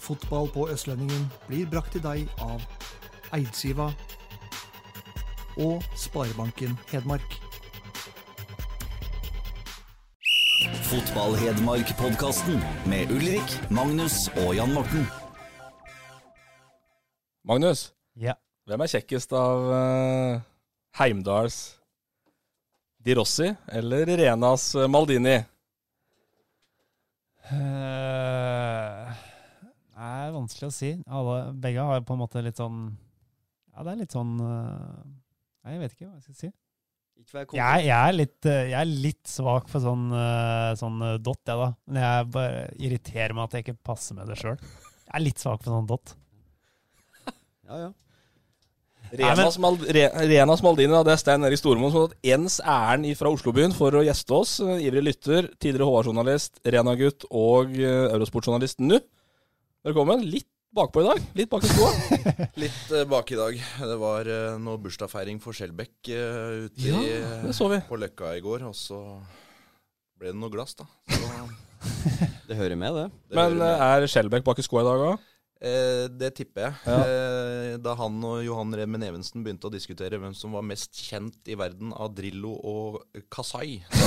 Fotball på Østlendingen blir brakt til deg av Eidsiva og Sparebanken Hedmark. Fotball-Hedmark-podkasten med Ulrik, Magnus og Jan Morten. Magnus, Ja. hvem er kjekkest av eh, Heimdals Di Rossi eller Renas eh, Maldini? Eh, Det er vanskelig å si. Alle, begge har på en måte litt sånn Ja, det er litt sånn eh, Nei, jeg vet ikke hva jeg skal si. Jeg, jeg, er litt, eh, jeg er litt svak for sånn, eh, sånn eh, dot, jeg, da. Men jeg bare irriterer meg at jeg ikke passer med det sjøl. Jeg er litt svak for sånn dot. Renas, Mal Re Renas Maldini, da, det er Stein Erik Stormoen som har tatt ens ærend fra Oslobyen for å gjeste oss. Eh, Ivrig lytter, tidligere HR-journalist, Rena-gutt og eh, Eurosport-journalist nå. Velkommen. Litt bakpå i dag. Litt bak i skoa. Litt eh, bak i dag. Det var eh, noe bursdagsfeiring for Skjelbæk eh, ute Ja, i, det så vi. på Løkka i går, og så ble det noe glass, da. Så, Det hører med, det. det, Men eh, hører med. er Skjelbæk bak i skoa i dag òg? Eh, det tipper jeg. Ja. Eh, da han og Johan Remen Evensen begynte å diskutere hvem som var mest kjent i verden av Drillo og Kasai, da,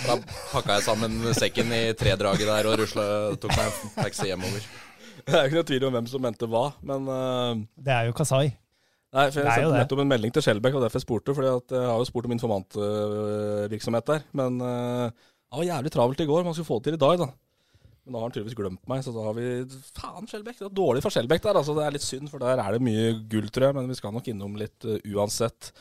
da pakka jeg sammen sekken i tredraget der og rusla, tok meg en taxi hjemover. Det er jo ikke noe tvil om hvem som mente hva, men eh, Det er jo Kasai. Nei, for Jeg Det er jo sendte det. nettopp en melding til Skjelbæk, og derfor jeg spurte. fordi at eh, jeg har jo spurt om informantvirksomhet der. Men øh, det var jævlig travelt i går. Man skulle få det til i dag, da. Men da har han tydeligvis glemt meg, så da har vi Faen, Skjelbæk! Det var dårlig for Skjelbæk der. altså Det er litt synd, for der er det mye gull, tror jeg. Men vi skal nok innom litt øh, uansett.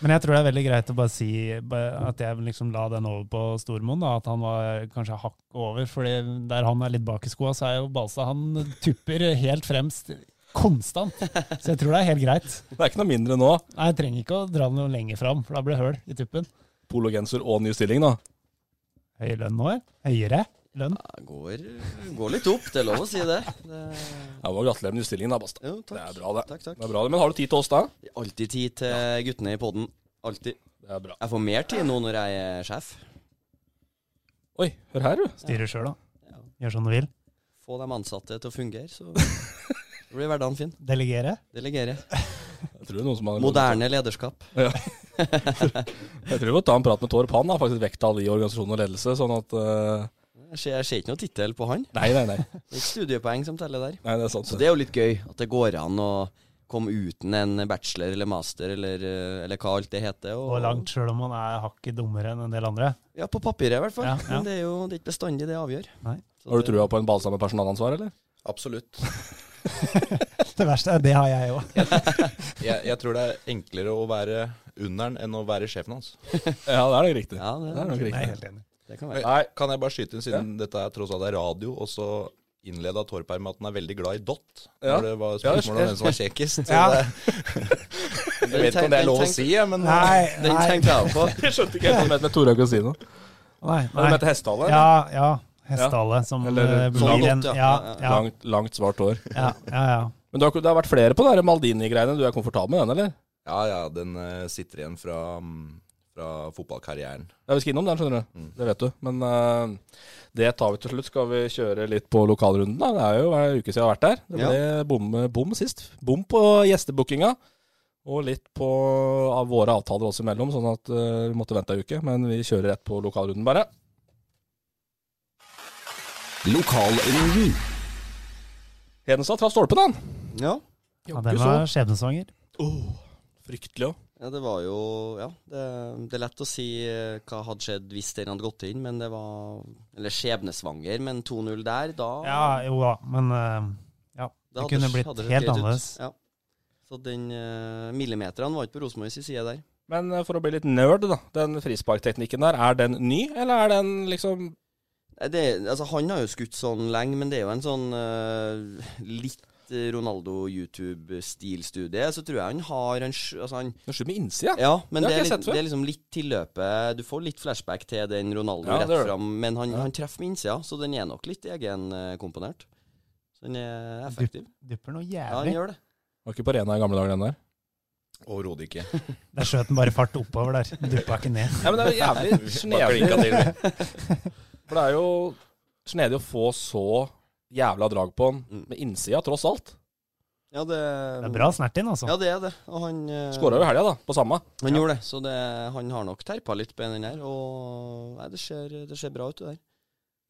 Men jeg tror det er veldig greit å bare si bare at jeg liksom la den over på Stormoen, da, at han var kanskje hakk over, fordi der han er litt bak i skoa, så er jo Balsa Han tupper helt fremst konstant. Så jeg tror det er helt greit. Det er ikke noe mindre nå. Nei, Jeg trenger ikke å dra den noe lenger fram, for da blir det høl i tuppen. Pologenser og ny stilling, da. Høy lønn nå, eller? Høyere lønn. Det går, går litt opp, det er lov å si det. det Jeg må Gratulerer med nystillingen, da, Basta. jo, Det takk. er bra, det. Takk, det takk. er bra, det. Men har du tid til oss, da? Alltid tid til guttene i poden. Alltid. Det er bra. Jeg får mer tid nå når jeg er sjef. Oi, hør her, du. Styrer sjøl, da. Gjør som du vil. Få de ansatte til å fungere, så blir hverdagen fin. Delegere. Delegere. Jeg tror det er noen som har Moderne lederskap. Jeg tror vi må ta en prat med Torp. Han har faktisk vekttall i organisasjon og ledelse, sånn at øh, Jeg ser, jeg ser ikke noe tittel på han. Nei, nei, nei. Det er ikke studiepoeng som teller der. nei det er sant. Så det er jo litt gøy at det går an å komme uten en bachelor eller master eller, eh, eller hva alt det heter. Og langt, sjøl om han er hakket dummere enn en del andre. Ja, på papiret i hvert fall. Ja, ja. Men det er jo det er ikke bestandig det avgjør. Nei. Så Har du det- trua på en balsam med personalansvar, eller? Absolutt. Det verste er det har jeg òg. Jeg, jeg tror det er enklere å være under'n enn å være sjefen hans. Ja, det er nok riktig. Ja, Det er nok det, riktig. det kan være. Nei. Kan jeg bare skyte inn, siden dette er tross alt er radio, og så innleda Torp her med at han er veldig glad i dott. Ja. Når det var Ja, spørsmål om hvem som var kjekkest. Så Ja. det, jeg vet ikke om det er lov å si, jeg, men Nei, Den tenkte jeg også på. Jeg skjønte ikke helt hva du mente med Tora Casino. nei, Hva du mente hestehale? eller? Ja, ja. Hestehale som Eller eh, sånn blir en godt, ja. ja, Ja, ja, Langt, langt svart hår. ja, ja, ja. Men du har, det har vært flere på de Maldini-greiene. Du er komfortabel med den, eller? Ja ja, den eh, sitter igjen fra, mm, fra fotballkarrieren. Ja, vi skal innom den, skjønner du. Mm. Det vet du. Men eh, det tar vi til slutt. Skal vi kjøre litt på lokalrunden, da? Det er jo en uke siden jeg har vært der. Det ble bom, bom sist. Bom på gjestebookinga. Og litt på av våre avtaler oss imellom, sånn at eh, vi måtte vente ei uke. Men vi kjører rett på lokalrunden, bare. Lokalrunden. Hedenstad traff stolpen, han. Ja. ja den var skjebnesvanger. Fryktelig òg. ja, det var jo Ja, det, det er lett å si eh, hva hadde skjedd hvis den hadde gått inn, men det var Eller skjebnesvanger, men 2-0 der, da Ja, jo da, men eh, ja. da Det kunne hadde- blitt hadde det helt sett greit ut. annerledes. Ja. Så den eh, millimeteren var ikke på Rosenborg sin side der. Men eh, for å bli litt nerd, da. Den frisparkteknikken der, er den ny, eller er den liksom Det, altså, han har jo skutt sånn lenge, men det er jo en sånn eh, litt Ronaldo-YouTube-stilstudie. Så tror jeg han har en sj- altså han, Du skyter med innsida? Ja, men Det har ikke det, jeg er, sett litt- før. det er liksom litt tilløpet Du får litt flashback til den Ronaldo Ja, det gjør rett det. fram, men han, han treffer med innsida, så den er nok litt egenkomponert. Så den er effektiv. Dupper noe Ja, han jævlig. gjør det. Var ikke på Rena i gamle dager, den der. Overhodet ikke. der skjøt den bare fart oppover der. Duppa ikke ned. Nei, men det er jo jævlig Bare klinka snedig. til. For det er jo snedig å få så jævla drag på den Mm. med innsida, tross alt. Ja, det, Det er bra snert inn, altså. Ja, det er det. Og han eh, Skåra jo i helga, da, på samme. Han gjorde det, så det, han har nok terpa litt på den her. Og nei, det ser, det ser bra ut, det der.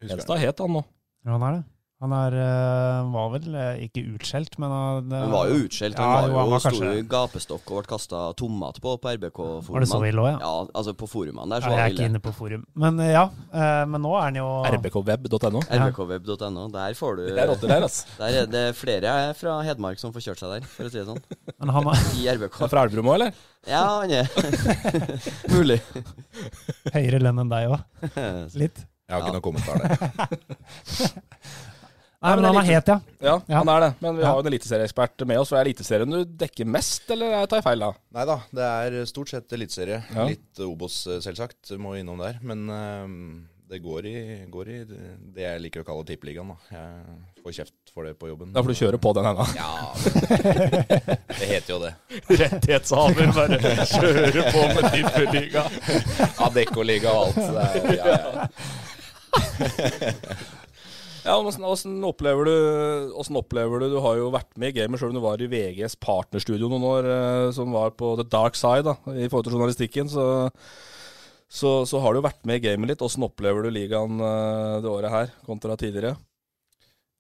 Enstad het han nå. Ja, Han er det. Han er, øh, var vel øh, ikke utskjelt, men han eh, Han var jo utskjelt. Ja, Han jo, var han jo var sto kanskje i gapestokk og ble kasta tomat på på Var det så RBK-forumene. ille òg, ja? Ja, altså på forumene der Nei, så jeg er var det ikke ille. inne på forum. Men øh, ja, øh, men nå er han jo rbkweb.no. Ja. RBKweb.no. Der får du Det er rotter der, altså. Der er det flere fra Hedmark som får kjørt seg der, for å si det sånn. men han har I RBK. Er det Fra Elverum òg, eller? Ja, han er mulig. høyere lønn enn deg òg. Ja, Litt. Jeg har ikke noen kommentar der. Nei, men det er han er het, ja. Ja, Ja. han er det. Men vi Ja. har jo en eliteserieekspert med oss. Og er Eliteserien du dekker mest, eller tar jeg feil da? Nei da, det er stort sett eliteserie. Ja. Litt Obos, eh, selvsagt. Må innom der. Men eh, det går i, går i det jeg liker å kalle tippeligaen. da. Jeg får kjeft for det på jobben. Da får du kjøre på den ennå. Ja, men det heter jo det. Rettighetshaver bare kjører på med tippeliga. Adeccoliga og alt. Det er, ja, ja. Ja, men hvordan, hvordan, opplever du, hvordan opplever du Du har jo vært med i gamet selv om du var i VGs partnerstudio noen år, eh, som var på the dark side da, i forhold til journalistikken. Så, så, så har du jo vært med i gamet litt. Hvordan opplever du ligaen eh, det året her kontra tidligere?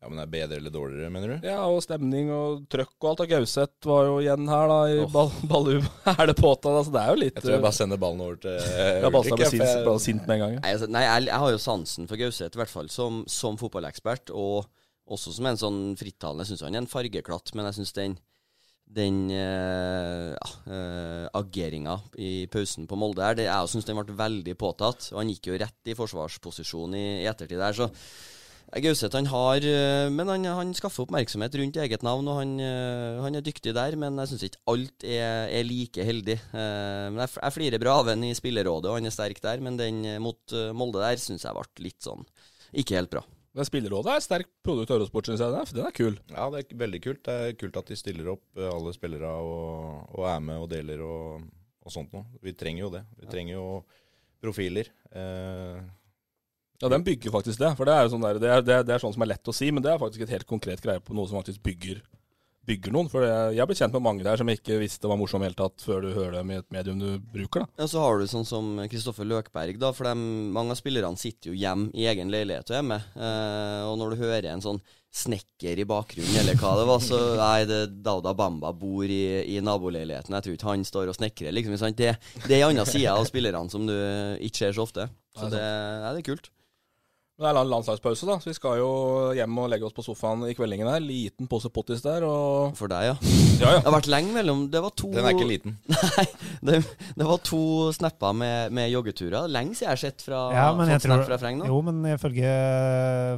ja, Men det er bedre eller dårligere, mener du? Ja, og stemning og trøkk og alt. Og Gauseth var jo igjen her, da, i Åh. ball, Ballu. Er det påtatt? Altså, det er jo litt Jeg tror jeg bare sender ballen over til eh, jeg bare Ulrik. ble jeg, sint, for bare sint med en gang. jeg. Nei, altså, nei jeg, jeg har jo sansen for Gauseth, i hvert fall som, som fotballekspert, og også som en sånn frittalende. Jeg syns han er en fargeklatt, men jeg syns den, den eh, ja, eh, ageringa i pausen på Molde her, det, jeg syns den ble veldig påtatt. Og han gikk jo rett i forsvarsposisjon i, i ettertid der, så eh, Gauseth han har eh, Men han, han skaffer oppmerksomhet rundt eget navn, og han, eh, han er dyktig der. Men jeg syns ikke alt er, er like heldig. Eh, Men jeg, f- jeg flirer bra av ham i spillerrådet, og han er sterk der. Men den eh, mot eh, Molde der syns jeg ble litt sånn ikke helt bra. Men spillerrådet er et sterkt produkt av Eurosport, syns jeg. Den er, den er kul. ja, det er veldig kult. Det er kult at de stiller opp, eh, alle spillere, og, og er med og deler og, og sånt noe. Vi trenger jo det. Vi trenger jo profiler. Eh, Ja, den bygger faktisk det. For det er jo sånn der, det er, det er, det er sånn som er lett å si, men det er faktisk et helt konkret greie på noe som faktisk bygger, bygger noen. For det, jeg ble kjent med mange der som jeg ikke visste var morsomme i det hele tatt, før du hører dem i et medium du bruker, da. Ja, så har du sånn som Kristoffer Løkberg, da. For dem, mange av spillerne sitter jo hjemme i egen leilighet og er med. Eh, og når du hører en sånn snekker i bakgrunnen, eller hva det var, så Nei, det Dauda Bamba bor i, i naboleiligheten. Jeg tror ikke han står og snekrer, liksom. ikke Sant? Det, det er en annen side av spillerne som du ikke ser så ofte. Så det, ja, det er kult. Men det er en landslagspause, da, så vi skal jo hjem og legge oss på sofaen i kveldingen her. Liten pose pottis der, og For deg, ja. Ja, ja. Det har vært lenge mellom Det var to den er ikke liten. Nei, det, det var to snapper med, med joggeturer. Lenge siden jeg har sett fra, Ja, men jeg fått snap tror- fra Freng nå. Jo, men ifølge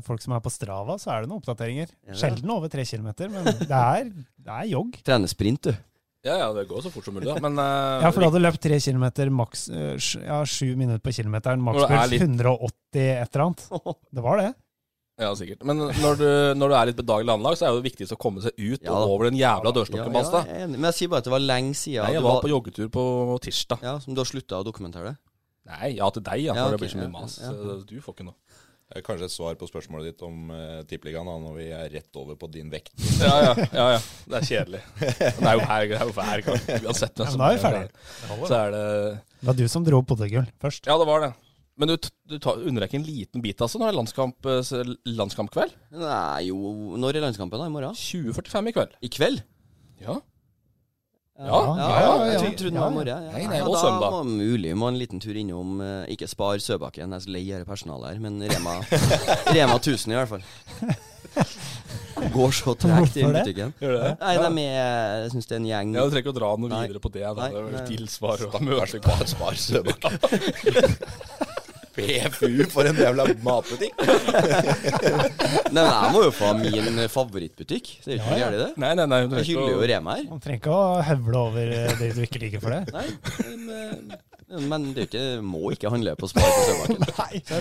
folk som er på Strava, så er det noen oppdateringer. Ja. Sjelden over tre kilometer, men det er, det er jogg. Trener sprint, du. Ja, ja, det går så fort som mulig, da. Men eh, Ja, for du hadde løpt tre kilometer maks øh, sj- Ja, sju minutter på kilometeren. Når det er Makspuls litt- 180 et eller annet. Det var det. Ja, sikkert. Men når du, når du er litt bedagelig anlag, så er det jo viktigst å komme seg ut Ja, da. og over den jævla Ja, dørstokken, ja, Banstad. jeg er enig, men jeg sier bare at det var lenge siden Nei, jeg du var har- på joggetur på tirsdag. ja, Som du har slutta å dokumentere det? Nei, ja til deg, ja. Ja, For det ok, blir så mye ja, mas. ja. så Du får ikke noe. Det er Kanskje et svar på spørsmålet ditt om uh, tippeligaen da, når vi er rett over på din vekt. Ja, ja, ja, ja. Det er kjedelig. Men det er jo hver, det er jo hver gang. Uansett hvem Ja, som men da er vi er ferdig. der, Så er det Det var du som dro poddegull først. Ja, det var det. Men du, t- du tar, unner deg ikke en liten bit, altså? Nå er det landskamp, eh, s- landskampkveld. Nei, jo Når er landskampen? da? I morgen? 20.45 i kveld. I kveld? Ja. Ja, ja, ja, Jeg ja. trodde- trodde det Ja, ja. var i morgen. Nei, nei, ja, og da søndag. Må, mulig må en liten tur innom eh, Ikke spar Søbakken, jeg er så lei av det personalet her, men Rema, Rema 1000 i hvert fall. Går så tregt i Hvorfor det? butikken. Gjør det det? Nei, de er Jeg syns det er en gjeng Ja, Du trenger ikke å dra noe Nei. videre på det. Da. Nei, det er nei. vel tilsvar og møte. Bare spar Søbakken. PFU for en jævla matbutikk. Nei, men jeg må jo få min favorittbutikk. Det er jo Ja, ja. ikke noe gærent, det. Nei, nei, nei. du Jeg vet hyller ikke- jo Rema her. Man trenger ikke å høvle over eh, det du ikke liker for det. Nei, men, eh, men det er jo ikke, må ikke handle på Spar på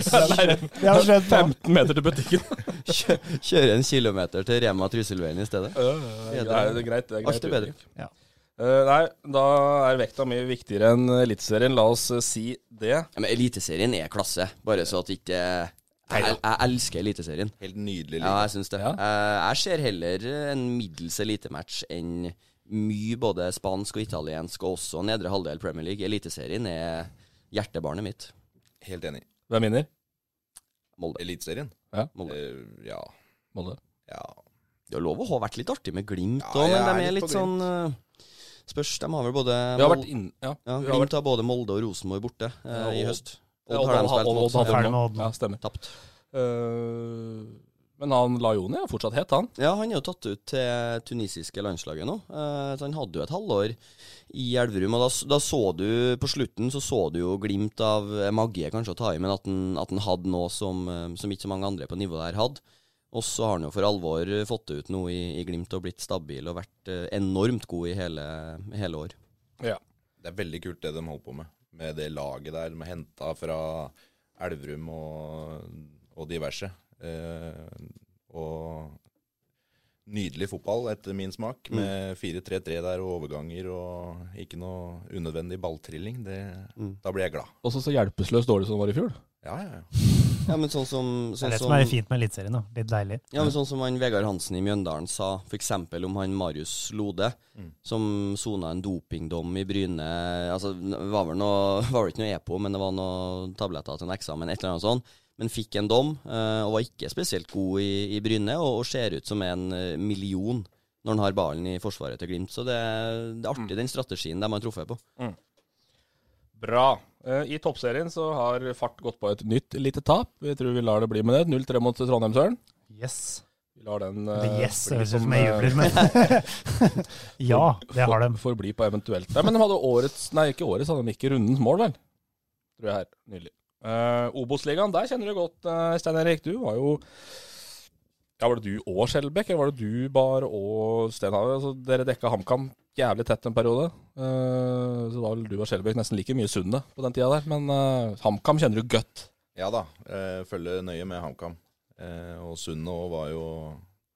Jeg Sørbakken. har skjønt på 15 meter til butikken. Kjø- Kjøre en kilometer til Rema Trysilveien i stedet. Ja, det er greit. Det er greit. Alt er bedre. Ja. Eh, nei, da er vekta mye viktigere enn Eliteserien. La oss eh, si det. Ja, men Eliteserien er klasse, bare så at ikke Jeg, jeg elsker Eliteserien. Helt nydelig. Ja, liv. jeg syns det. Eh, Jeg ser heller en middels elitematch enn mye både spansk og italiensk, og også nedre halvdel Premier League. Eliteserien er hjertebarnet mitt. Helt enig. Hvem vinner? Molde. Eliteserien? Ja. Eh, ja. Molde. ja. Det er lov å ha vært litt artig med Glimt Ja, òg, jeg men de er er litt på litt sånn eh, Spørs, de har vel både Vi har Mol- vært inn... Ja. ja, vi har vært- Glimt har både Molde og Rosenborg borte eh, Ja, i og- høst. Ja, Odd har de spilt mot. Odd Ferdig hadde med nå. Odd nå. Ja, stemmer. Tapt. Eh, men han Lajoni er fortsatt het, han. Ja, han er jo tatt ut til tunisiske landslaget nå. Eh, så han hadde jo et halvår i Elverum, og da, s- da så du på slutten så så du jo glimt av eh, Maggie, kanskje å ta i, men at han, at han hadde noe som, eh, som ikke så mange andre på nivået der hadde. Og så har han jo for alvor eh, fått det ut nå i, i Glimt og blitt stabil og vært eh, enormt god i hele, hele år. Det er veldig kult det de holder på med. Med det laget der de har henta fra Elverum og, og diverse. Eh, og nydelig fotball etter min smak, med 4-3-3 der og overganger og ikke noe unødvendig balltrilling. Det, Da blir jeg glad. Og så så hjelpeløst dårlig som han var i fjor. Ja, ja, ja. Ja, men sånn som, Det sånn er det som som er fint med Eliteserien. da. Litt deilig. Ja, men sånn som han Vegard Hansen i Mjøndalen sa, f.eks. om han Marius Lode, som sona en dopingdom i Bryne altså, Det var vel noe, var vel ikke noe EPO, men det var noen tabletter til en eksamen, et eller annet sånt. Men fikk en dom, eh, og var ikke spesielt god i, i Bryne, og, og ser ut som en eh, million når han har ballen i forsvaret til Glimt. Så det, det er artig, den strategien de har truffet på. Bra. Eh, I toppserien så har Fart gått på et nytt lite tap. Vi tror vi lar det bli med det. 0-3 mot Trondheim Søren. Yes. Vi lar den Det eh, yes bli høres ut som, som jeg eh, jubler, men Ja, det har de. får- Forbli på eventuelt. Nei, men de hadde årets Nei, ikke årets, hadde de ikke rundens mål, vel? Tror jeg her, nylig. Eh, Obos-ligaen, der kjenner du godt, eh, Stein Erik. Du var jo Ja, var det du og Skjelbæk, eller var det du bare og Stenhaug? Altså, dere dekka HamKam jævlig tett en periode. Eh, så var vel du og Skjelbæk nesten like mye sunne på den tida der. Men eh, HamKam kjenner du godt. ja da. Eh, følger nøye med HamKam. Eh, og Sunne òg var jo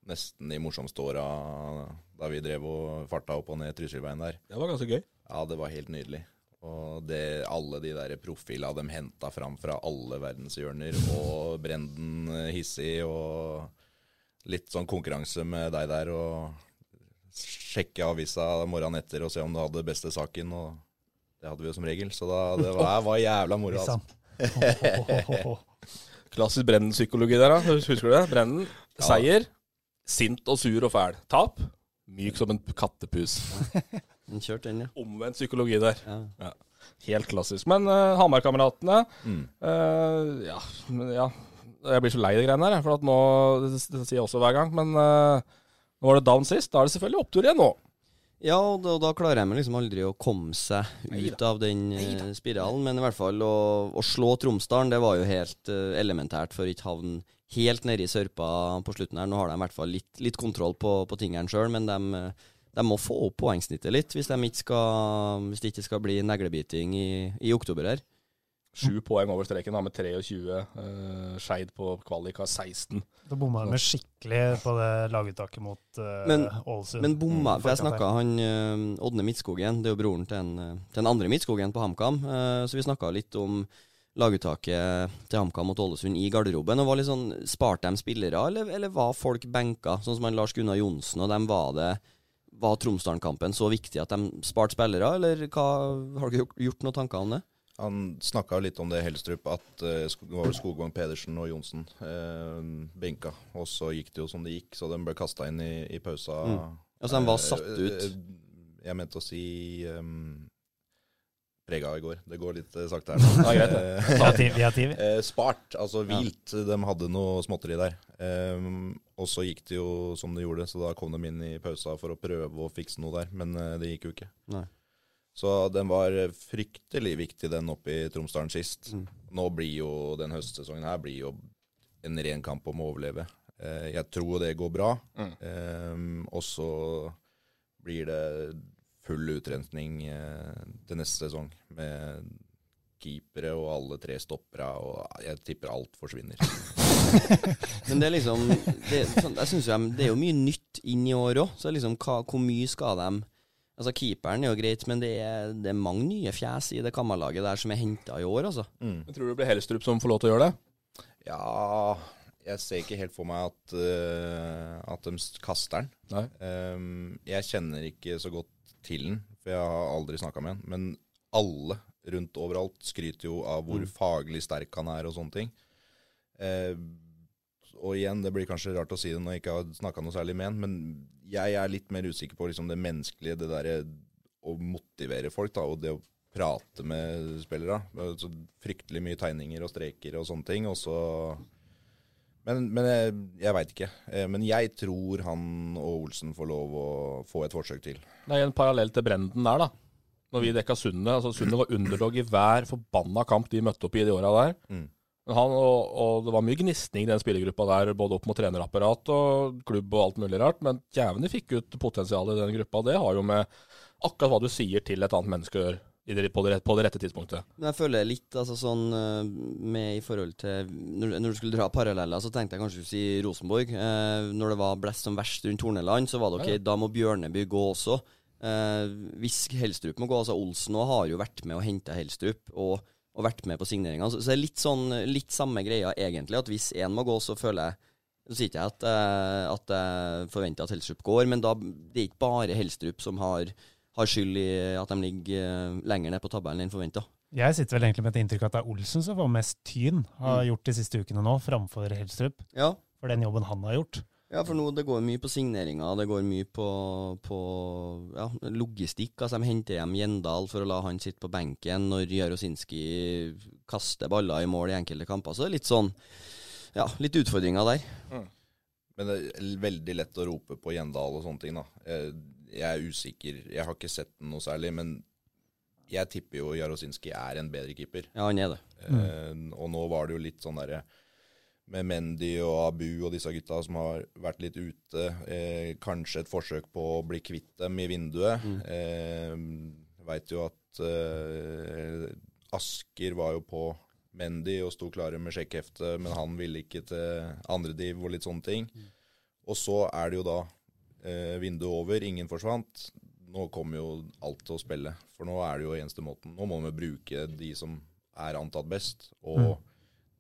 nesten de morsomste åra da vi drev og farta opp og ned Trysilveien der. Det var ganske gøy. Ja, det var helt nydelig. Og det, alle de der profila de henta fram fra alle verdenshjørner, og Brenden eh, hissig, og litt sånn konkurranse med deg der, og sjekke avisa morgenen etter og se om du hadde beste saken, og det hadde vi jo som regel, så da, det var, var jævla moro. Liksom. Altså. Klassisk Brennen-psykologi der, da. Husker du det? Brennen. Seier. Sint og sur og fæl. Tap. Myk som en kattepus. Den kjørte den, ja. Omvendt psykologi der. ja. Helt klassisk. Men uh, Hamar-kameratene Mm. eh, ja, men ja. Jeg blir så lei de greiene her, for at nå det, det sier jeg også hver gang. Men eh, nå var det down sist. Da er det selvfølgelig opptur igjen nå. Ja, og da, og da klarer jeg meg liksom aldri å komme seg ut av den eh, spiralen. Men i hvert fall å, å slå Tromsdalen, det var jo helt eh, elementært for ikke havne helt nede i sørpa på slutten her. Nå har de i hvert fall litt, litt kontroll på, på tingene sjøl, men de, eh, de må få opp poengsnittet litt hvis, de ikke skal, hvis det ikke skal bli neglebiting i, i oktober her. Sju poeng over streken, da, med 23. Uh, Skeid på kvalik har 16. Da bomma de skikkelig på det laguttaket mot eh, Men- Ålesund. Men bomma, Mm, for jeg forkant snakka han eh, Ådne Midtskogen, det er jo broren til den, eh, til den andre Midtskogen på HamKam, eh, så vi snakka litt om laguttaket til HamKam mot Ålesund i garderoben. og var litt sånn, Sparte de spillere, eller, eller var folk benka? Sånn som han Lars Gunnar Johnsen og dem, var det var Tromsdalen-kampen så viktig at de sparte spillere, eller hva, har dere gjort- gjort noen tanker om det? Han snakka litt om det, Helstrup, at eh, Sk- det var vel Skogvang Pedersen og Johnsen eh, benka. Og så gikk det jo som det gikk, så de ble kasta inn i, i pausa. Mm. Altså, de var satt Eh, ut. eh, Jeg mente å si um, prega i går. Det går litt eh, sakte her nå. Ja, greit, der. Vi har tid, vi har tid. vi. Eh, spart, altså hvilt. De hadde noe småtteri der. Ehm, og så gikk det jo som det gjorde, så da kom de inn i pausa for å prøve å fikse noe der. Men eh, det gikk jo ikke. Nei. Så den var fryktelig viktig, den oppe i Tromsdalen sist. Mm. Nå blir jo den høstsesongen her blir jo en ren kamp om å overleve. Eh, Jeg tror det går bra. Eh, Og så blir det full utrensning eh, til neste sesong med keepere og alle tre stoppere, og jeg tipper alt forsvinner. Men det er liksom det, er sånn, jeg synes jo de- det er jo mye nytt inn i år òg, så liksom hva, hvor mye skal de Altså Keeperen er jo greit, men det er, det er mange nye fjes i det kammerlaget der som er henta i år, altså. Mm. Jeg tror det blir Hellestrup som får lov til å gjøre det. Ja Jeg ser ikke helt for meg at, eh, at de s- kaster den. Nei. Ehm, jeg kjenner ikke så godt til den, for jeg har aldri snakka med den. Men alle rundt overalt skryter jo av hvor Mm. faglig sterk han er og sånne ting. Ehm, og igjen, det blir kanskje rart å si det når jeg ikke har snakka noe særlig med han, men jeg er litt mer usikker på liksom, det menneskelige, det derre å motivere folk, da, og det å prate med spillere. Så fryktelig mye tegninger og streker og sånne ting. Og så Men, men jeg, jeg veit ikke. Eh, Men jeg tror han og Olsen får lov å få et forsøk til. Det er en parallell til Brenden der, da. Når vi dekka Sundet. Altså, Sundet var underdog i hver forbanna kamp de møtte opp i de åra der. Mm. Men han, og, og det var mye gnisning i den spillergruppa der, både opp mot trenerapparat og klubb og alt mulig rart. Men djevelen de fikk ut potensialet i den gruppa. Det har jo med akkurat hva du sier til et annet menneske å gjøre i det- på det, rett- på det rette tidspunktet. Men jeg føler litt altså, sånn eh, med i forhold til Når, når du skulle dra paralleller, så tenkte jeg kanskje du skulle si Rosenborg. Eh, når det var blest som verst rundt Horneland, så var det ok, Ja, ja. da må Bjørneby gå også. Eh, hvis Helstrup må gå, altså Olsen også har jo vært med og henta Helstrup. Og, og vært med på signeringene. Så, så det er litt sånn litt samme greia egentlig, at hvis én må gå, så føler jeg så sier ikke jeg at, eh, at jeg forventer at Helstrup går, men da, det er ikke bare Helstrup som har, har skyld i at de ligger eh, lenger ned på tabellen enn forventa. Jeg sitter vel egentlig med et inntrykk av at det er Olsen som får mest tyn, Mm. har gjort de siste ukene nå, framfor Helstrup. Ja. For den jobben han har gjort. Ja, for nå det går mye på signeringer, det går mye på, på ja, logistikk. Altså, de henter hjem Gjendal for å la han sitte på benken når Jarosinski kaster baller i mål i enkelte kamper. Så det er litt sånn Ja, litt utfordringer der. Men det er veldig lett å rope på Gjendal og sånne ting, da. Eh, Jeg er usikker. Jeg har ikke sett den noe særlig. Men jeg tipper jo Jarosinski er en bedre keeper. Ja, han er det. Eh, og nå var det jo litt sånn derre med Mendy og Abu og disse gutta som har vært litt ute. Eh, kanskje et forsøk på å bli kvitt dem i vinduet. Eh, Veit jo at eh, Asker var jo på Mendy og sto klare med sjekkhefte, men han ville ikke til andrediv og litt sånne ting. Og så er det jo da eh, vinduet over, ingen forsvant. Nå kommer jo alt til å spille, for nå er det jo eneste måten. Nå må vi bruke de som er antatt best, og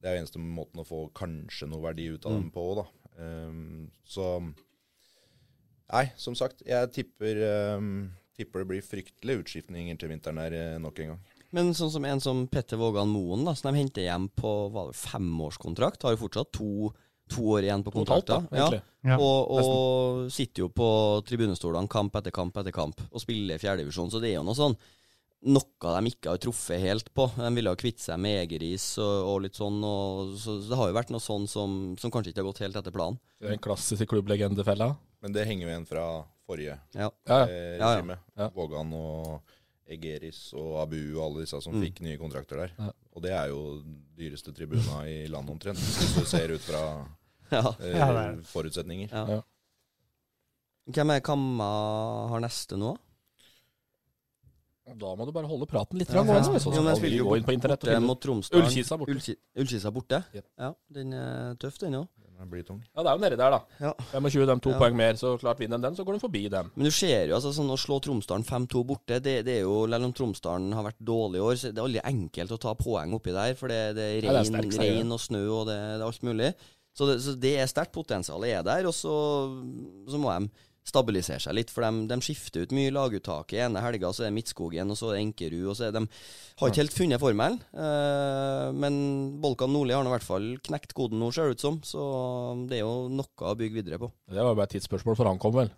det er jo eneste måten å få kanskje noe verdi ut av dem på òg, da. Ehm, så Nei, som sagt, jeg tipper, ehm, tipper det blir fryktelige utskiftninger til vinteren her eh, nok en gang. Men sånn som en som Petter Vågan Moen, da, som de henter hjem på hva, var det, femårskontrakt, har jo fortsatt to, to år igjen på To og et halvt, da, kontrakten. Ja. egentlig. Ja, og, og sitter jo på tribunestolene kamp etter kamp etter kamp og spiller fjerdedivisjon, så det er jo noe sånn noe de ikke har truffet helt på. De ville ha kvitt seg med Egeris og, og litt sånn, og, så, så det har jo vært noe sånn som, som kanskje ikke har gått helt etter planen. Det er en klassisk klubblegendefelle. Men det henger jo igjen fra forrige Ja. Ja, ja. eh, Ja, ja. regime. Ja. Vågan og Egeris og Abu og alle disse som Mm. fikk nye kontrakter der. Ja. Og det er jo dyreste tribuna i landet omtrent, hvis du ser ut fra ja. eh, Ja, det er det. forutsetninger. Ja. Hvem er Kamma har neste nå? Da må du bare holde praten litt. Ja, Ja, ja. ja. Så Jo, men skal jeg vi spiller jo gå inn på internett og Borte finne mot Tromsdalen. Ullkisa borte. Ullki- Ullkisa borte? Jep. Ja, den er tøff, den òg. Den blir tung. Ja, det er jo nedi der, da. Ja. 25, dem to Ja. poeng mer, så klart vinner de den, så går de forbi dem. Men du ser jo altså sånn å slå Tromsdalen 5-2 borte, det, det er jo Selv om Tromsdalen har vært dårlig i år, så det er aldri enkelt å ta poeng oppi der. For det, det er Ja, det er regn, sterk seier. regn og snø og det, det er alt mulig. Så det, så det er sterkt potensial er der. Og så, så må de stabilisere seg litt, for de, de skifter ut mye i laguttaket. Ene helga så er det Midtskogen, og så er det Enkerud. og så er De har ikke helt funnet formelen. Eh, men Bolkan Nordli har nå i hvert fall knekt koden nå, ser det ut som. Så det er jo noe å bygge videre på. Det var jo bare et tidsspørsmål, for han kom vel.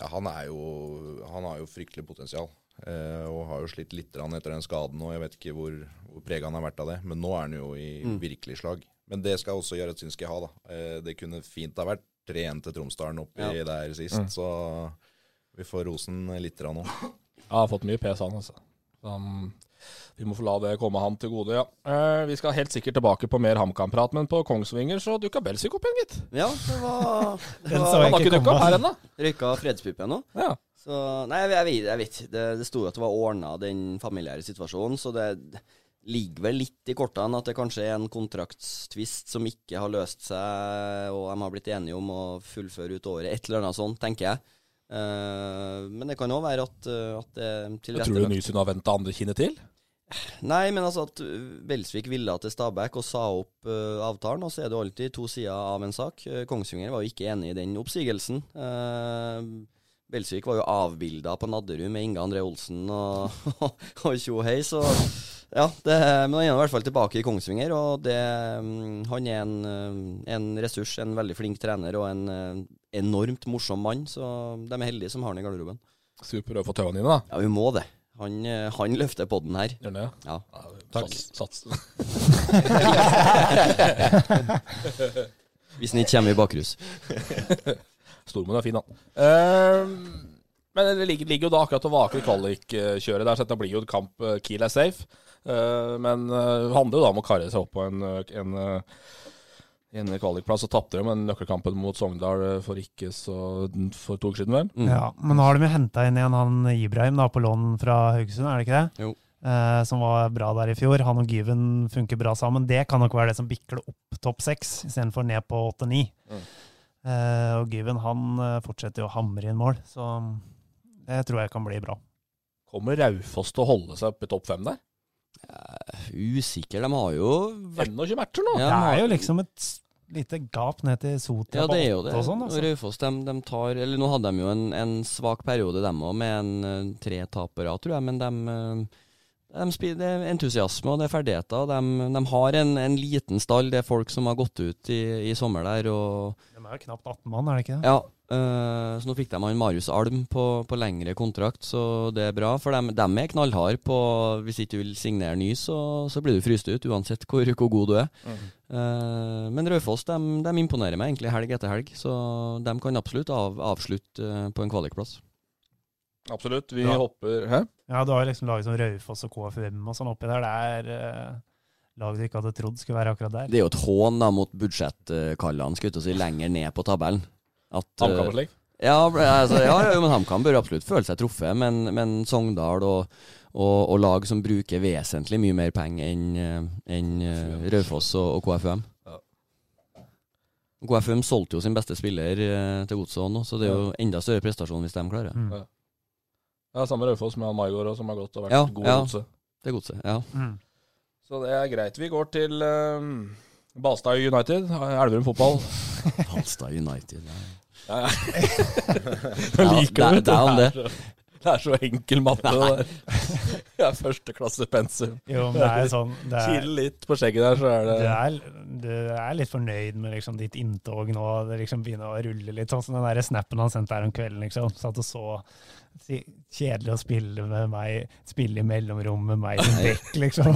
Ja, han, er jo, han har jo fryktelig potensial. Eh, og har jo slitt litt grann etter den skaden, og jeg vet ikke hvor, hvor prega han har vært av det. Men nå er han jo i virkelig slag. Men det skal også Jaratsinskij ha, da. Eh, det kunne fint ha vært 3-1 til Tromsdalen oppi der sist, så vi får rosen litt grann nå. Jeg har fått mye PS han, altså. Um, vi må få la det komme han til gode, ja. Eh, vi skal helt sikkert tilbake på mer HamKam-prat, men på Kongsvinger så dukka Belsvik opp igjen, gitt. Ja, det var, det Den så jeg var ikke Han har ikke dukket komme. opp her ennå. Røyka fredspipe ennå. Ja. Så, nei, jeg, jeg, vet- jeg vet ikke. Det, det sto jo at det var ordna, den familiære situasjonen, så det ligger vel litt i kortene at det kanskje er en kontraktstvist som ikke har løst seg, og de har blitt enige om å fullføre ut året, et eller annet sånt, tenker jeg. Eh, men det kan òg være at, eh, at det er Jeg tror du Nysund har venta andre kinnet til? Nei, men altså at uh, Belsvik ville til Stabæk og sa opp uh, avtalen, og så er det alltid to sider av en sak. Uh, Kongsvinger var jo ikke enig i den oppsigelsen. Uh, Belsvik var jo avbilda på Nadderud med Inge André Olsen og og tjo og hei, så ja, det, men han er i hvert fall tilbake i Kongsvinger, og det, mm, han er en, eh, en ressurs, en veldig flink trener og en eh, enormt morsom mann, så de er heldige som har han i garderoben. Skal vi prøve å få tauene dine, da? Ja, vi må det. Han, eh, han løfter podden her. Gjør han det, ja? Takk. Sats. Sats. Hvis han ikke kommer i bakrus. Stormen er fin, han. Ehm, men det ligger, ligger jo da akkurat og vaker kvalikkjøret der, så dette blir jo en kamp. eh, Kiel er safe. Eh, men eh, det handler jo da om å karre seg opp på en, eh, en, eh, en kvalikplass. Og tapte jo med nøkkelkampen mot Sogndal eh, for ikke så for to uker siden, vel? Mm. Ja, men nå har de jo henta inn igjen han Ibrahim da, på lån fra Haugesund, er det ikke det? Jo. Eh, som var bra der i fjor. Han og Gyven funker bra sammen. Det kan nok være det som bikker det opp topp seks, istedenfor ned på åtte-ni. Mm. Eh, og Gyven han eh, fortsetter jo å hamre inn mål, så det tror jeg kan bli bra. Kommer Raufoss til å holde seg oppe i topp fem der? Usikker. De har jo vært 21 matcher nå! Ja, det men- er jo liksom et s- lite gap ned til Sotra Ja, det er jo på det. åtte og sånn. Og Altså. Raufoss, de, de tar Eller nå hadde de jo en, en svak periode, dem òg, med en eh, tre tapere, tror jeg, men de eh, de spiller, det er entusiasme og det er ferdigheter. og De, de har en, en liten stall. Det er folk som har gått ut i, i sommer der. og De er jo knapt 18 mann, er det ikke det? Ja, eh, så nå fikk de han Marius Alm på, på lengre kontrakt, så det er bra. For dem, dem er knallharde på Hvis ikke du vil signere ny, så, så blir du fryst ut, uansett hvor, hvor god du er. Eh, men Raufoss dem, dem imponerer meg egentlig helg etter helg, så de kan absolutt av, avslutte eh, på en kvalikplass. Absolutt. Vi Ja. hopper Hæ? Ja, du har jo liksom lag som Raufoss og KFUM og sånn oppi der. Det er eh, lag du ikke hadde trodd skulle være akkurat der. Det er jo et hån da mot budsjettkallene, skulle jeg til å si, lenger ned på tabellen. At, eh, HamKam og slik? Ja, ble- altså, ja, ja, men HamKam bør absolutt føle seg truffet, men, men Sogndal og, og, og lag som bruker vesentlig mye mer penger enn eh, enn, eh, Raufoss og, og KFUM. KFUM solgte jo sin beste spiller eh, til Godset nå, så det er jo enda større prestasjon hvis de klarer. Mm. Ja. Ja, samme Raufoss med han Maigård også, som har gått og vært Ja, god ja. i Godset. Det er Godset, ja. Mm. Så det er greit. Vi går til um, Balstad United, Elverum fotball. Halstad United. Ja, ja. Ja, Jeg liker det- det er om det. så- Det er så enkel matte. det der. Det er førsteklasse pensum. Jo, men det er sånn det er, Chill litt på skjegget der, så er det du, er, du er litt fornøyd med liksom ditt inntog nå, det liksom begynner å rulle litt. Sånn som den der snappen han sendte her om kvelden. liksom, Satt og så si- Kjedelig å spille med meg, spille i mellomrom med meg som bekk, liksom.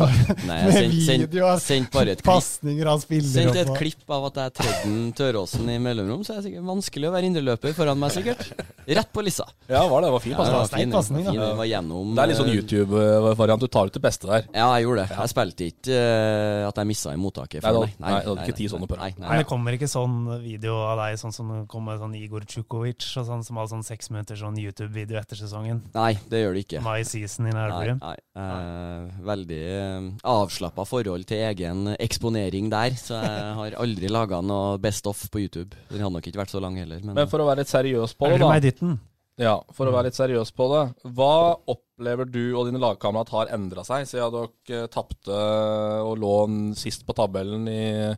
Nei, jeg sendte send, Med video av sendte bare et klipp. Pasninger han spiller Sendt et opp og- klipp av at jeg tredde den Tøråsen i mellomrom, så er det sikkert vanskelig å være indreløper foran meg, sikkert. Rett på lissa. Ja, var det. Det var fin Ja, det var pasning. fin, pasning, da. fin, den var gjennom, Det er litt sånn eh, YouTube-variant. Du tar ut det beste der. Ja, jeg gjorde det. Jeg spilte ikke eh, at jeg missa i Nei, mottaket. for da- meg. nei, da hadde ikke ti sånne på nei, rad. nei, Men det kommer ikke sånn video av deg, sånn som det kom med sånn Igor Tsjukovic, og sånn, som hadde sånn seks minutter sånn YouTube-video etter sesongen. nei, det gjør det ikke. My season in Nei, Elverum. nei. Eh, veldig eh, avslappa forhold til egen eksponering der, så jeg har aldri laga noe best off på YouTube. Den hadde nok ikke vært så lang heller, men, Men for å være litt seriøs på det, Elverum er i da. dytten. Ja, for Mm. å være litt seriøs på det. Hva opplever du og dine lagkamerat har endra seg siden dere eh, tapte eh, og lå en sist på tabellen i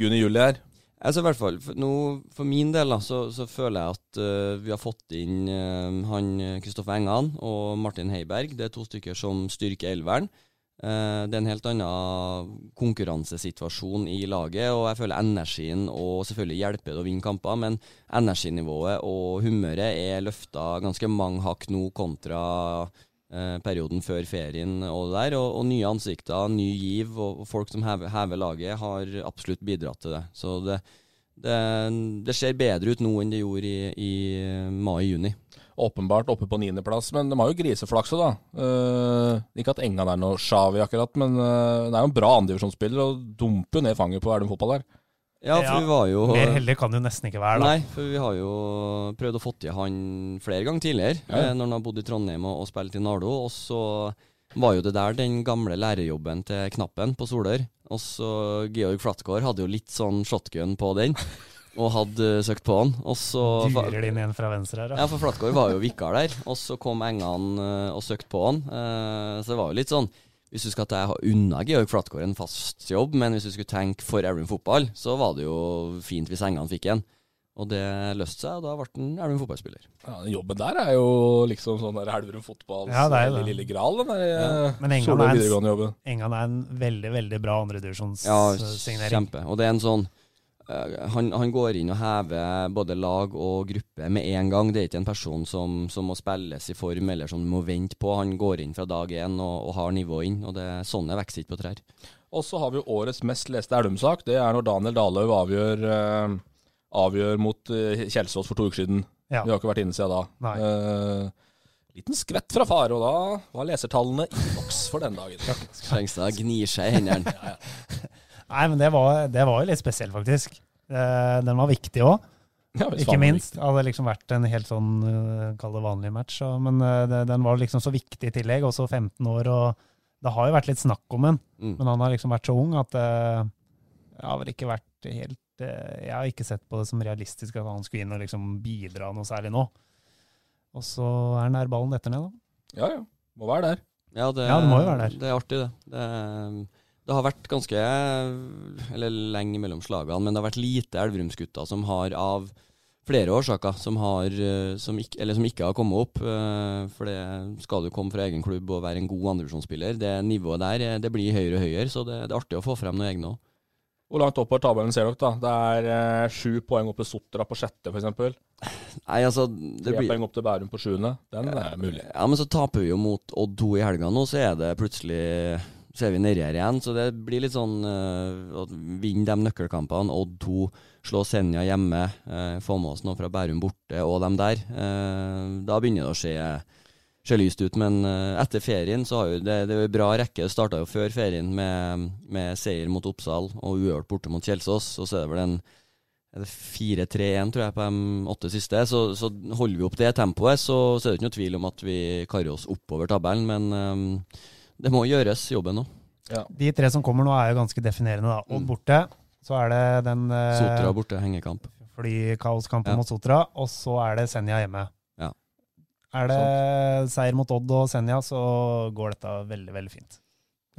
juni-juli her? Altså i hvert fall, for, nå, for min del da, så, så føler jeg at eh, vi har fått inn eh, han eh, Kristoffer Engan og Martin Heiberg. Det er to stykker som styrker elveren. Eh, det er en helt annen konkurransesituasjon i laget, og jeg føler energien og selvfølgelig hjelper det å vinne kamper, men energinivået og humøret er løfta ganske mange hakk nå kontra eh, perioden før ferien og det der. Og, og nye ansikter, ny giv og, og folk som hever, hever laget, har absolutt bidratt til det. Så eh, det, det, det ser bedre ut nå enn det gjorde i, i mai-juni. åpenbart oppe på niendeplass, men de har jo griseflaks òg, da. Eh, ikke at Engan er noe sjavi akkurat, men eh, det er jo en bra andredivisjonsspiller og dumper jo ned fanget på Elvum fotball der. Ja, for vi var jo Mer heldig kan det jo nesten ikke være, da. Nei, for vi har jo prøvd å få til han flere ganger tidligere, Ja, ja. eh, når han har bodd i Trondheim og, og spilt i Nardo. Og så var jo det der den gamle lærerjobben til Knappen på Solør. Og så Georg Flatgård hadde jo litt sånn shotgun på den, og hadde eh, søkt på han. Og så Durer det inn en fra venstre her, da. ja, for Flatgård var jo vikar der, og så kom Engan eh, og søkte på han. Eh, Så det var jo litt sånn Hvis du skal at jeg har unna Georg Flatgård en fast jobb, men hvis du skulle tenke for Elverum fotball, så var det jo fint hvis Engan fikk en. Og det løste seg, og da ble han Elverum fotballspiller. Ja, den jobben der er jo liksom sånn der Elverum fotballs Ja, det er jo lille, det. lille gral, den der eh, Men Engan Solør er en- videregående-jobben. Engan er en veldig, veldig bra Ja, andredivisjonssignering. kjempe. Og det er en sånn eh, han, han går inn og hever både lag og gruppe med en gang. Det er ikke en person som, som må spilles i form eller som du må vente på. Han går inn fra dag én og, og har nivået inn. Og det, sånne vokser ikke på trær. Og så har vi jo årets mest leste Elverum-sak. Det er når Daniel Dalhaug avgjør, eh, avgjør mot eh, Kjelsås for to uker siden. Ja. Vi har ikke vært inne siden da. Nei. Eh, liten skvett fra far, og da var lesertallene i boks for den dagen. Slengstad gnir seg i hendene. Nei, men det var, det var jo litt spesiell, faktisk. Eh, Den var viktig òg, Ja, hvis ikke faen, minst. Det hadde liksom vært en helt sånn, eh, kall det vanlig match, og- men eh, det- den var liksom så viktig i tillegg, også 15 år, og det har jo vært litt snakk om den, Mm. men han har liksom vært så ung at eh, det har vel ikke vært helt eh, Jeg har ikke sett på det som realistisk at han skulle inn og liksom bidra noe særlig nå. Og så er nær ballen detter ned, da. Ja, ja. Må være der. Ja, det, Ja, det må jo være der. Det er artig, det. Det, det har vært ganske Eller lenge mellom slagene, men det har vært lite Elverumsgutter som har av flere årsaker som, har, eh, som, ikke, eller som ikke har kommet opp. eh, For det skal du komme fra egen klubb og være en god andrevisjonsspiller. Det nivået der eh, det blir høyere og høyere, så det, det er artig å få frem noen egne òg. Hvor langt oppover tabellen ser dere, da? Det er eh, sju poeng opp til Sotra på sjette, f.eks. Nei, altså det Tre blir, poeng opp til Bærum på sjuende. Den er mulig. Ja, men så taper vi jo mot Odd 2 i helga nå, så er det plutselig Så er vi nedi her igjen. Så det blir litt sånn eh, å vinne de nøkkelkampene. Odd 2, slå Senja hjemme, eh, få med oss noe fra Bærum borte og dem der. Eh, da begynner det å se, se lyst ut. Men eh, etter ferien så har jo det, det er jo en bra rekke. Det starta jo før ferien med, med seier mot Oppsal og uavgjort borte mot Kjelsås. Og så er det vel en er det 4-3-1, tror jeg, på de åtte siste. Så, så holder vi opp det tempoet, så, så er det ikke noe tvil om at vi karer oss oppover tabellen. Men ehm, det må gjøres, jobben nå. De tre som kommer nå, er jo ganske definerende. da. Odd Mm. borte, så er det den eh, Sotra borte, hengekamp. flykaoskampen Ja. mot Sotra, og så er det Senja hjemme. Ja. Er det seier mot Odd og Senja, så går dette veldig, veldig fint.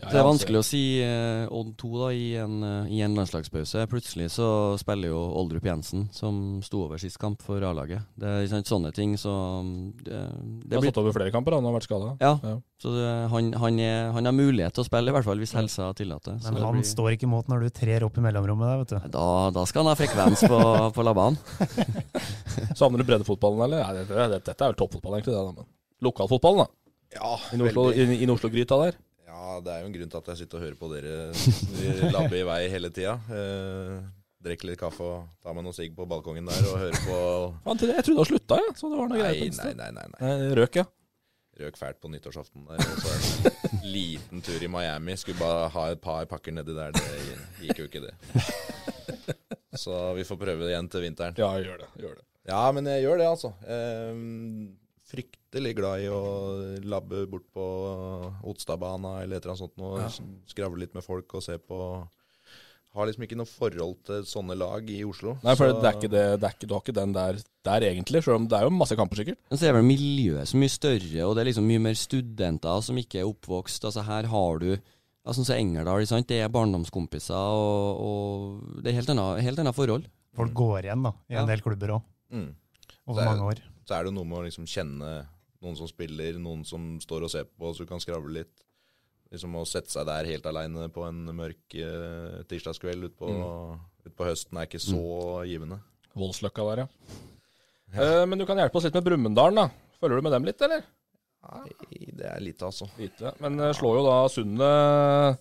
Ja, Det er vanskelig å si eh, Odd 2 da, i en, eh, i en landslagspause. Plutselig så spiller jo Oldrup Jensen, som sto over sist kamp for A-laget. Det er ikke sant, sånne ting, så mm, det, Det det har blir stått over flere kamper, da. Han har vært skada. Ja, Altså, Ja. så det, han, han, er, han har mulighet til å spille, i hvert fall hvis helsa tillater. så Men det han blir- står ikke imot når du trer opp i mellomrommet der, vet du. da, da skal han ha frekvens på, på labbene. Savner du breddefotballen, eller? Nei, dette, dette, dette er jo toppfotball, egentlig. Det, da, men. Lokalfotballen, da. Ja, I Oslo- i- i Oslo-gryta der. Ja, det er jo en grunn til at jeg sitter og hører på dere labbe i vei hele tida. Eh, drikker litt kaffe og tar meg noe sigg på balkongen der og hører på Faen, til det- Jeg trodde han slutta, jeg. Så det var noe greier på Nei, Insta. nei, nei. nei, nei. Eh, Røk, ja. Røk fælt på nyttårsaften der. Og så en liten tur i Miami. Skulle bare ha et par pakker nedi der. Det gikk jo ikke, det. Så vi får prøve det igjen til vinteren. Ja, gjør det. Gjør det. Ja, men jeg gjør det, altså. Ehm, fryktelig glad i å labbe bort på Otstadbana eller et eller annet sånt. Og Skravle litt med folk og se på Har liksom ikke noe forhold til sånne lag i Oslo. Nei, for så- det er ikke det, det er ikke, Du har ikke den der, der egentlig, selv om det er jo masse kamper, sikkert. Men så er vel miljøet så mye større, og det er liksom mye mer studenter som ikke er oppvokst. Altså her har du altså, Sånn som Engerdal, ikke sant? det er barndomskompiser, og, og det er helt annet, helt annet forhold. Folk går igjen, da, i en Ja. del klubber òg, Mm. over Det er- mange år. Så er det jo noe med å liksom kjenne noen som spiller, noen som står og ser på, så du kan skravle litt. Liksom Å sette seg der helt aleine på en mørk eh, tirsdagskveld utpå Mm. ut på høsten er ikke så givende. Voldsløkka der, ja. Eh, men du kan hjelpe oss litt med Brumunddalen, da. Følger du med dem litt, eller? Nei, det er lite, altså. Lite. Men eh, slår jo da Sundet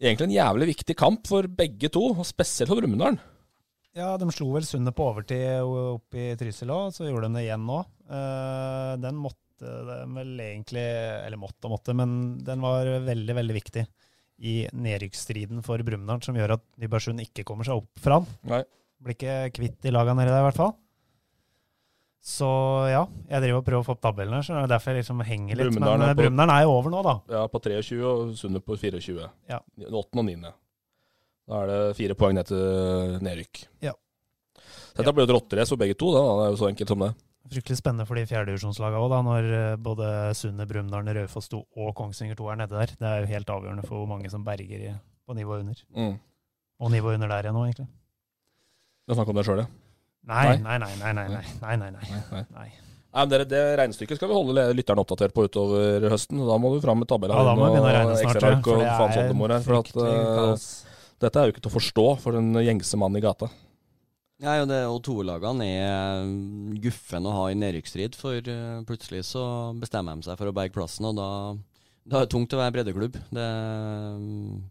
Egentlig en jævlig viktig kamp for begge to, og spesielt for Brumunddalen. Ja, de slo vel Sundet på overtid opp i Trysil òg, så gjorde de det igjen nå. Eh, Den måtte de vel egentlig Eller måtte og måtte, men den var veldig, veldig viktig i nedrykksstriden for Brumunddal, som gjør at Nybergsund ikke kommer seg opp fra den. Nei. Blir ikke kvitt de laga nedi der, i hvert fall. Så ja, jeg driver og prøver å få opp tabellen her, så det er derfor jeg liksom henger litt. Brumunddal men er eh, på- Brumunddal er jo over nå, da. Ja, på 23 og Sunde på 24. Ja. 8. og 9. Da er det fire poeng ned til nedrykk. Ja. Så Dette blir jo et rotterace for begge to, da. Det er jo så enkelt som det. Fryktelig spennende for de fjerdedivisjonslagene òg, når eh, både Sundet, Brumunddal, Raufoss 2 og Kongsvinger 2 er nede der. Det er jo helt avgjørende for hvor mange som berger i, på nivået under. Mm. Og nivået under der igjen nå, egentlig. Du har snakket om det sjøl, ja. Nei, nei, nei, nei, nei, nei, nei, nei, nei. nei. Nei, men dere, Det regnestykket skal vi holde le- lytteren oppdatert på utover høsten. og Da må du fram med tabella Ja, da må vi begynne å og regne snart, ja, Excel-ark for og det faens er oldemor her. For at, fryktelig eh, kaos. dette er jo ikke til å forstå for den gjengse mannen i gata. Ja, og, det, og toerlagene er mm, guffen å ha i nedrykksstrid, for eh, plutselig så bestemmer de seg for å berge plassen, og da, da er det tungt å være breddeklubb. Det, mm,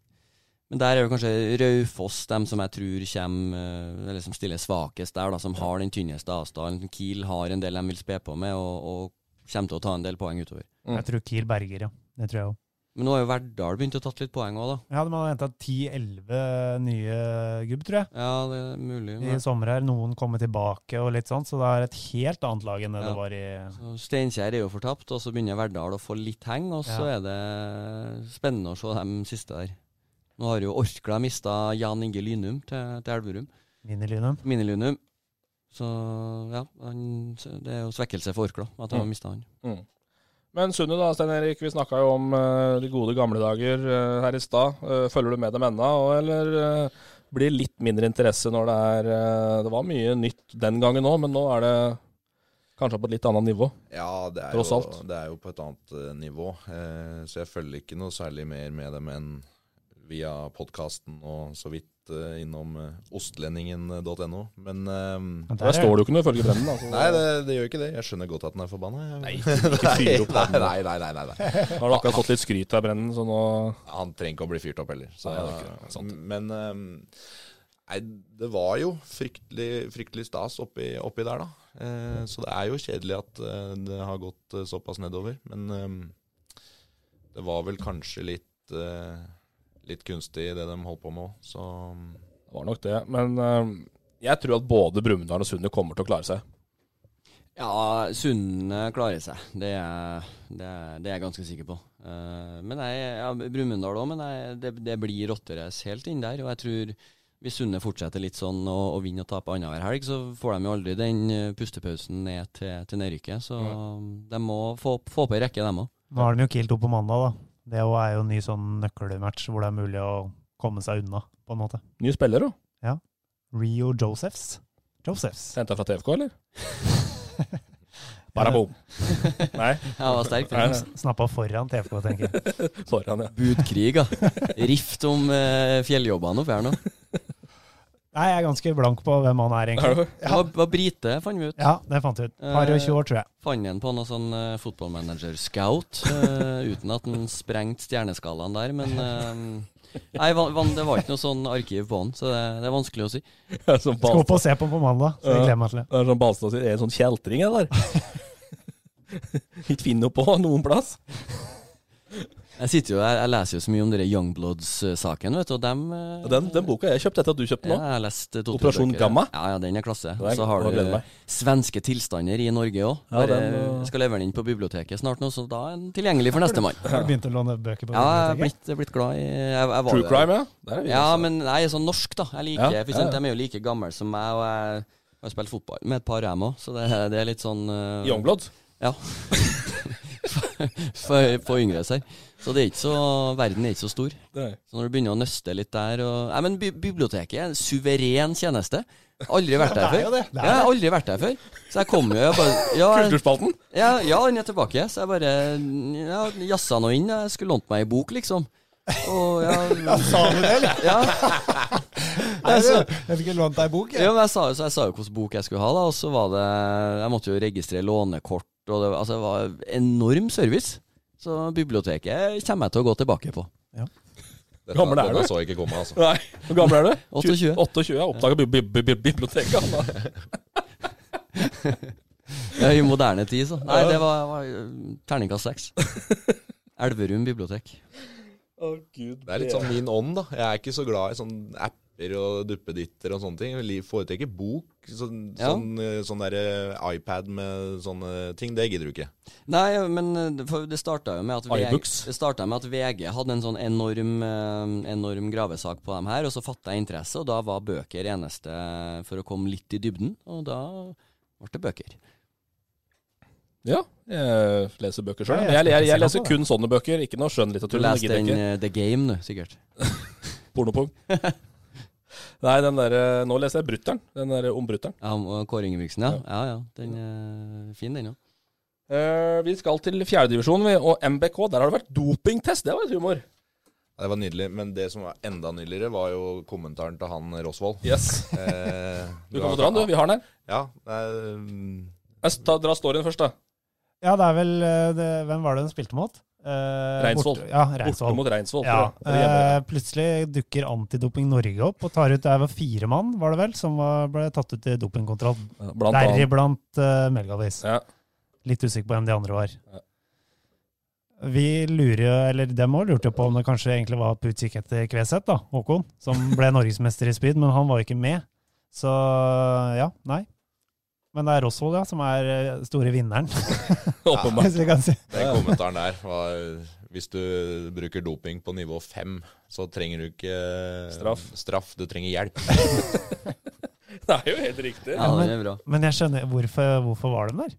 men der er jo kanskje Raufoss dem som jeg tror kommer, eh, eller som stiller svakest der, da, som har den tynneste avstanden. Kiel har en del de vil spe på med, og, og kommer til å ta en del poeng utover. Jeg tror Kiel berger, ja. Det tror jeg òg. Men nå har jo Verdal begynt å tatt litt poeng òg, da. Ja, de har henta 10-11 nye gubb, tror jeg, Ja, det er mulig. i sommer her. Noen kommer tilbake og litt sånn, så det er et helt annet lag enn det Ja. det var i Så Steinkjer er jo fortapt, og så begynner Verdal å få litt heng, og så Ja. er det spennende å se dem siste der. Nå har jo Orkla mista Jan Inge Lynum til, til Elverum. Minilynum. Mini-Lynum. Så ja, han, så det er jo svekkelse for Orkla at de har Mm. mista han. Mm. Men Sunne, da, Stein Erik. Vi snakka jo om eh, de gode gamle dager eh, her i stad. Eh, følger du med dem ennå, og- eller eh, blir litt mindre interesse når det er eh, Det var mye nytt den gangen òg, men nå er det kanskje på et litt annet nivå. Ja, det er, Tross jo, alt. det er jo på et annet eh, nivå. Eh, så jeg følger ikke noe særlig mer med dem enn via podkasten og så vidt eh, innom eh, ostlendingen.no. Men eh, Der står det jo ikke noe ifølge Brenden. Altså. Nei, det, det gjør ikke det. Jeg skjønner godt at den er forbanna. jeg. Nei, ikke fyr opp nei, den. nei, nei, nei, nei, nei. Nå har du akkurat fått litt skryt av Brennen, så nå Han trenger ikke å bli fyrt opp heller. Så, Nei, det er ikke det. Sant. Men eh, nei, det var jo fryktelig, fryktelig stas oppi, oppi der, da. Eh, så det er jo kjedelig at eh, det har gått eh, såpass nedover. Men eh, det var vel kanskje litt, eh, litt kunstig det de holdt på med òg, så ehm, Det var nok det. Men eh, jeg tror at både Brumunddal og Sunde kommer til å klare seg. Ja, Sunne klarer seg. Det er, det er, det er jeg ganske sikker på. Eh, men jeg, ja, Brumunddal òg, men jeg, det, det blir rotterace helt inn der. Og jeg tror hvis Sunne fortsetter litt sånn og, og vinner og taper annenhver helg, så får de jo aldri den eh, pustepausen ned til, til nedrykket. Så de må få, få på ei rekke, dem òg. Nå har de jo Kiel 2 på mandag, da. Det jo er jo en ny sånn nøkkelmatch hvor det er mulig å komme seg unna, på en måte. Ny spiller, jo. Rio Josephs. Josephs. Henta fra TFK, eller? Bare bom. Nei, Jeg var sterk. Nei, den. nei. Snappa foran TFK, tenker jeg. foran, ja. Budkrig, ja. Rift om eh, fjelljobbene oppi her nå. Nei, jeg er ganske blank på hvem han er, egentlig. Det var, var brite, fant vi ut. Ja, det fant jeg ut. Par og 20 år, tror jeg. Fant en på noe sånn eh, fotballmanager-scout, eh, uten at han sprengte stjerneskalaen der, men eh, Nei, van, van, det var ikke noe sånn arkiv på han, så det, det er vanskelig å si. Det er som Skal opp Balstad, og se på den på mandag, så jeg gleder meg til det. det er som Balstad sier, er det en sånn kjeltring, eller? Ikke finn noe på noen plass. Jeg sitter jo her, jeg leser jo så mye om dere Youngbloods-saken, vet du, og dem eh, Og Den, den boka jeg kjøpte etter at du kjøpte ja, den jeg òg. har lest eh, to-tre Operasjon bøker. Gamma? Ja, ja, den er klasse. Den- Så har den gleder du meg. svenske tilstander i Norge Ja, òg. Bare- den, eh, jeg skal levere den inn på biblioteket snart nå, så da er den tilgjengelig for nestemann. Har du begynt å låne bøker på Ja, jeg er biblioteket? blitt, blitt glad i jeg, jeg var True jo- crime, ja. Der er vi Ja, også. men jeg er sånn norsk, da. Jeg Ja, liker, ja, for ja. eksempel, De er jo like gamle som meg, og jeg har spilt fotball med et par, jeg òg, så det, det er litt sånn eh, Youngblood. Ja. for, for yngre seg. Så det er ikke så, verden er ikke så stor. Nei. Så når du begynner å nøste litt der og Nei, men bi biblioteket er en suveren tjeneste. Aldri vært der før. jo det, det er Ja, jeg har aldri vært der før. Så jeg kom jo jeg bare ja, jeg- Kulturspalten. ja, ja, den er tilbake. Så jeg bare ja, jassa nå inn. Jeg skulle lånt meg ei bok, liksom. Og ja, Sa du det, eller? ja. Nei, så, Jeg fikk lånt deg bok, ja, men jeg, sa, jo- så jeg sa jo hvilken bok jeg skulle ha, da, og så var det Jeg måtte jo registrere lånekort, og det, var- altså, det var enorm service. Så biblioteket kommer jeg til å gå tilbake på. Dette- Gammel er denne du? så jeg ikke komme, altså. Nei, Hvor gammel er du? 28. 28, ja. Oppdaga bi bi bi biblioteket. han da. Ja, I moderne tid, så. Nei, det var, var eh, terningkast seks. Elverum bibliotek. Det er litt sånn min ånd, da. Jeg er ikke så glad i sånne apper og duppeditter og sånne ting. Jeg li- foretrekker bok. Sånn, Ja. sånn, eh, sånn derre iPad med sånne ting, det gidder du ikke. Nei, men eh, for det starta jo med at VG, iBooks. det startet med at VG hadde en sånn enorm, eh, enorm gravesak på dem her, og så fatta jeg interesse, og da var bøker eneste for å komme litt i dybden, og da ble det bøker. Ja, jeg leser bøker sjøl. Ja, Jeg, jeg jeg, jeg, skal leser se på kun sånne bøker, ikke noe skjønnlitteratur. det Du leste gidder jeg den ikke. eh, The Game, du, sikkert. Pornopung. Nei, den der, eh, nå leser jeg Brutter'n. Den der eh, om Brutter'n. Ja, om- og Kåre Ingebrigtsen, ja. Ja, ja. Den er fin, den òg. Eh, vi skal til fjerdedivisjon og MBK. Der har det vært dopingtest. Det var litt humor. Ja, Det var nydelig. Men det som var enda nydeligere, var jo kommentaren til han Rosvold. Yes. Eh, Du kan få dra den, du. Vi har den her. Ja. mm, nei, Jeg s- ta, dra storyen først, da. Ja, det er vel eh, det, Hvem var det hun spilte mot? Eh, Reinsvoll. borte- Ja, Borte Reinsvoll. mot Reinsvoll. Ja, tror jeg. Eller hjemme. eh, plutselig dukker Antidoping Norge opp og tar ut Det var fire mann, var det vel, som var, ble tatt ut i dopingkontroll. Ja, Blant annet. Deriblant uh, Melgavis. Ja. Litt usikker på hvem de andre var. Ja. Vi lurer jo, eller dem òg lurte jo på om det kanskje egentlig var på utkikk etter Kveseth, da, Håkon, som ble norgesmester i speed, men han var jo ikke med. Så ja, nei. Men det er Rosvold, ja, som er eh, store vinneren, Åpenbart. hvis vi kan si. Den kommentaren der var Hvis du bruker doping på nivå fem, så trenger du ikke Straff. straff du trenger hjelp. Det er jo helt riktig. Ja, den er bra. Men jeg skjønner, hvorfor, hvorfor var de der?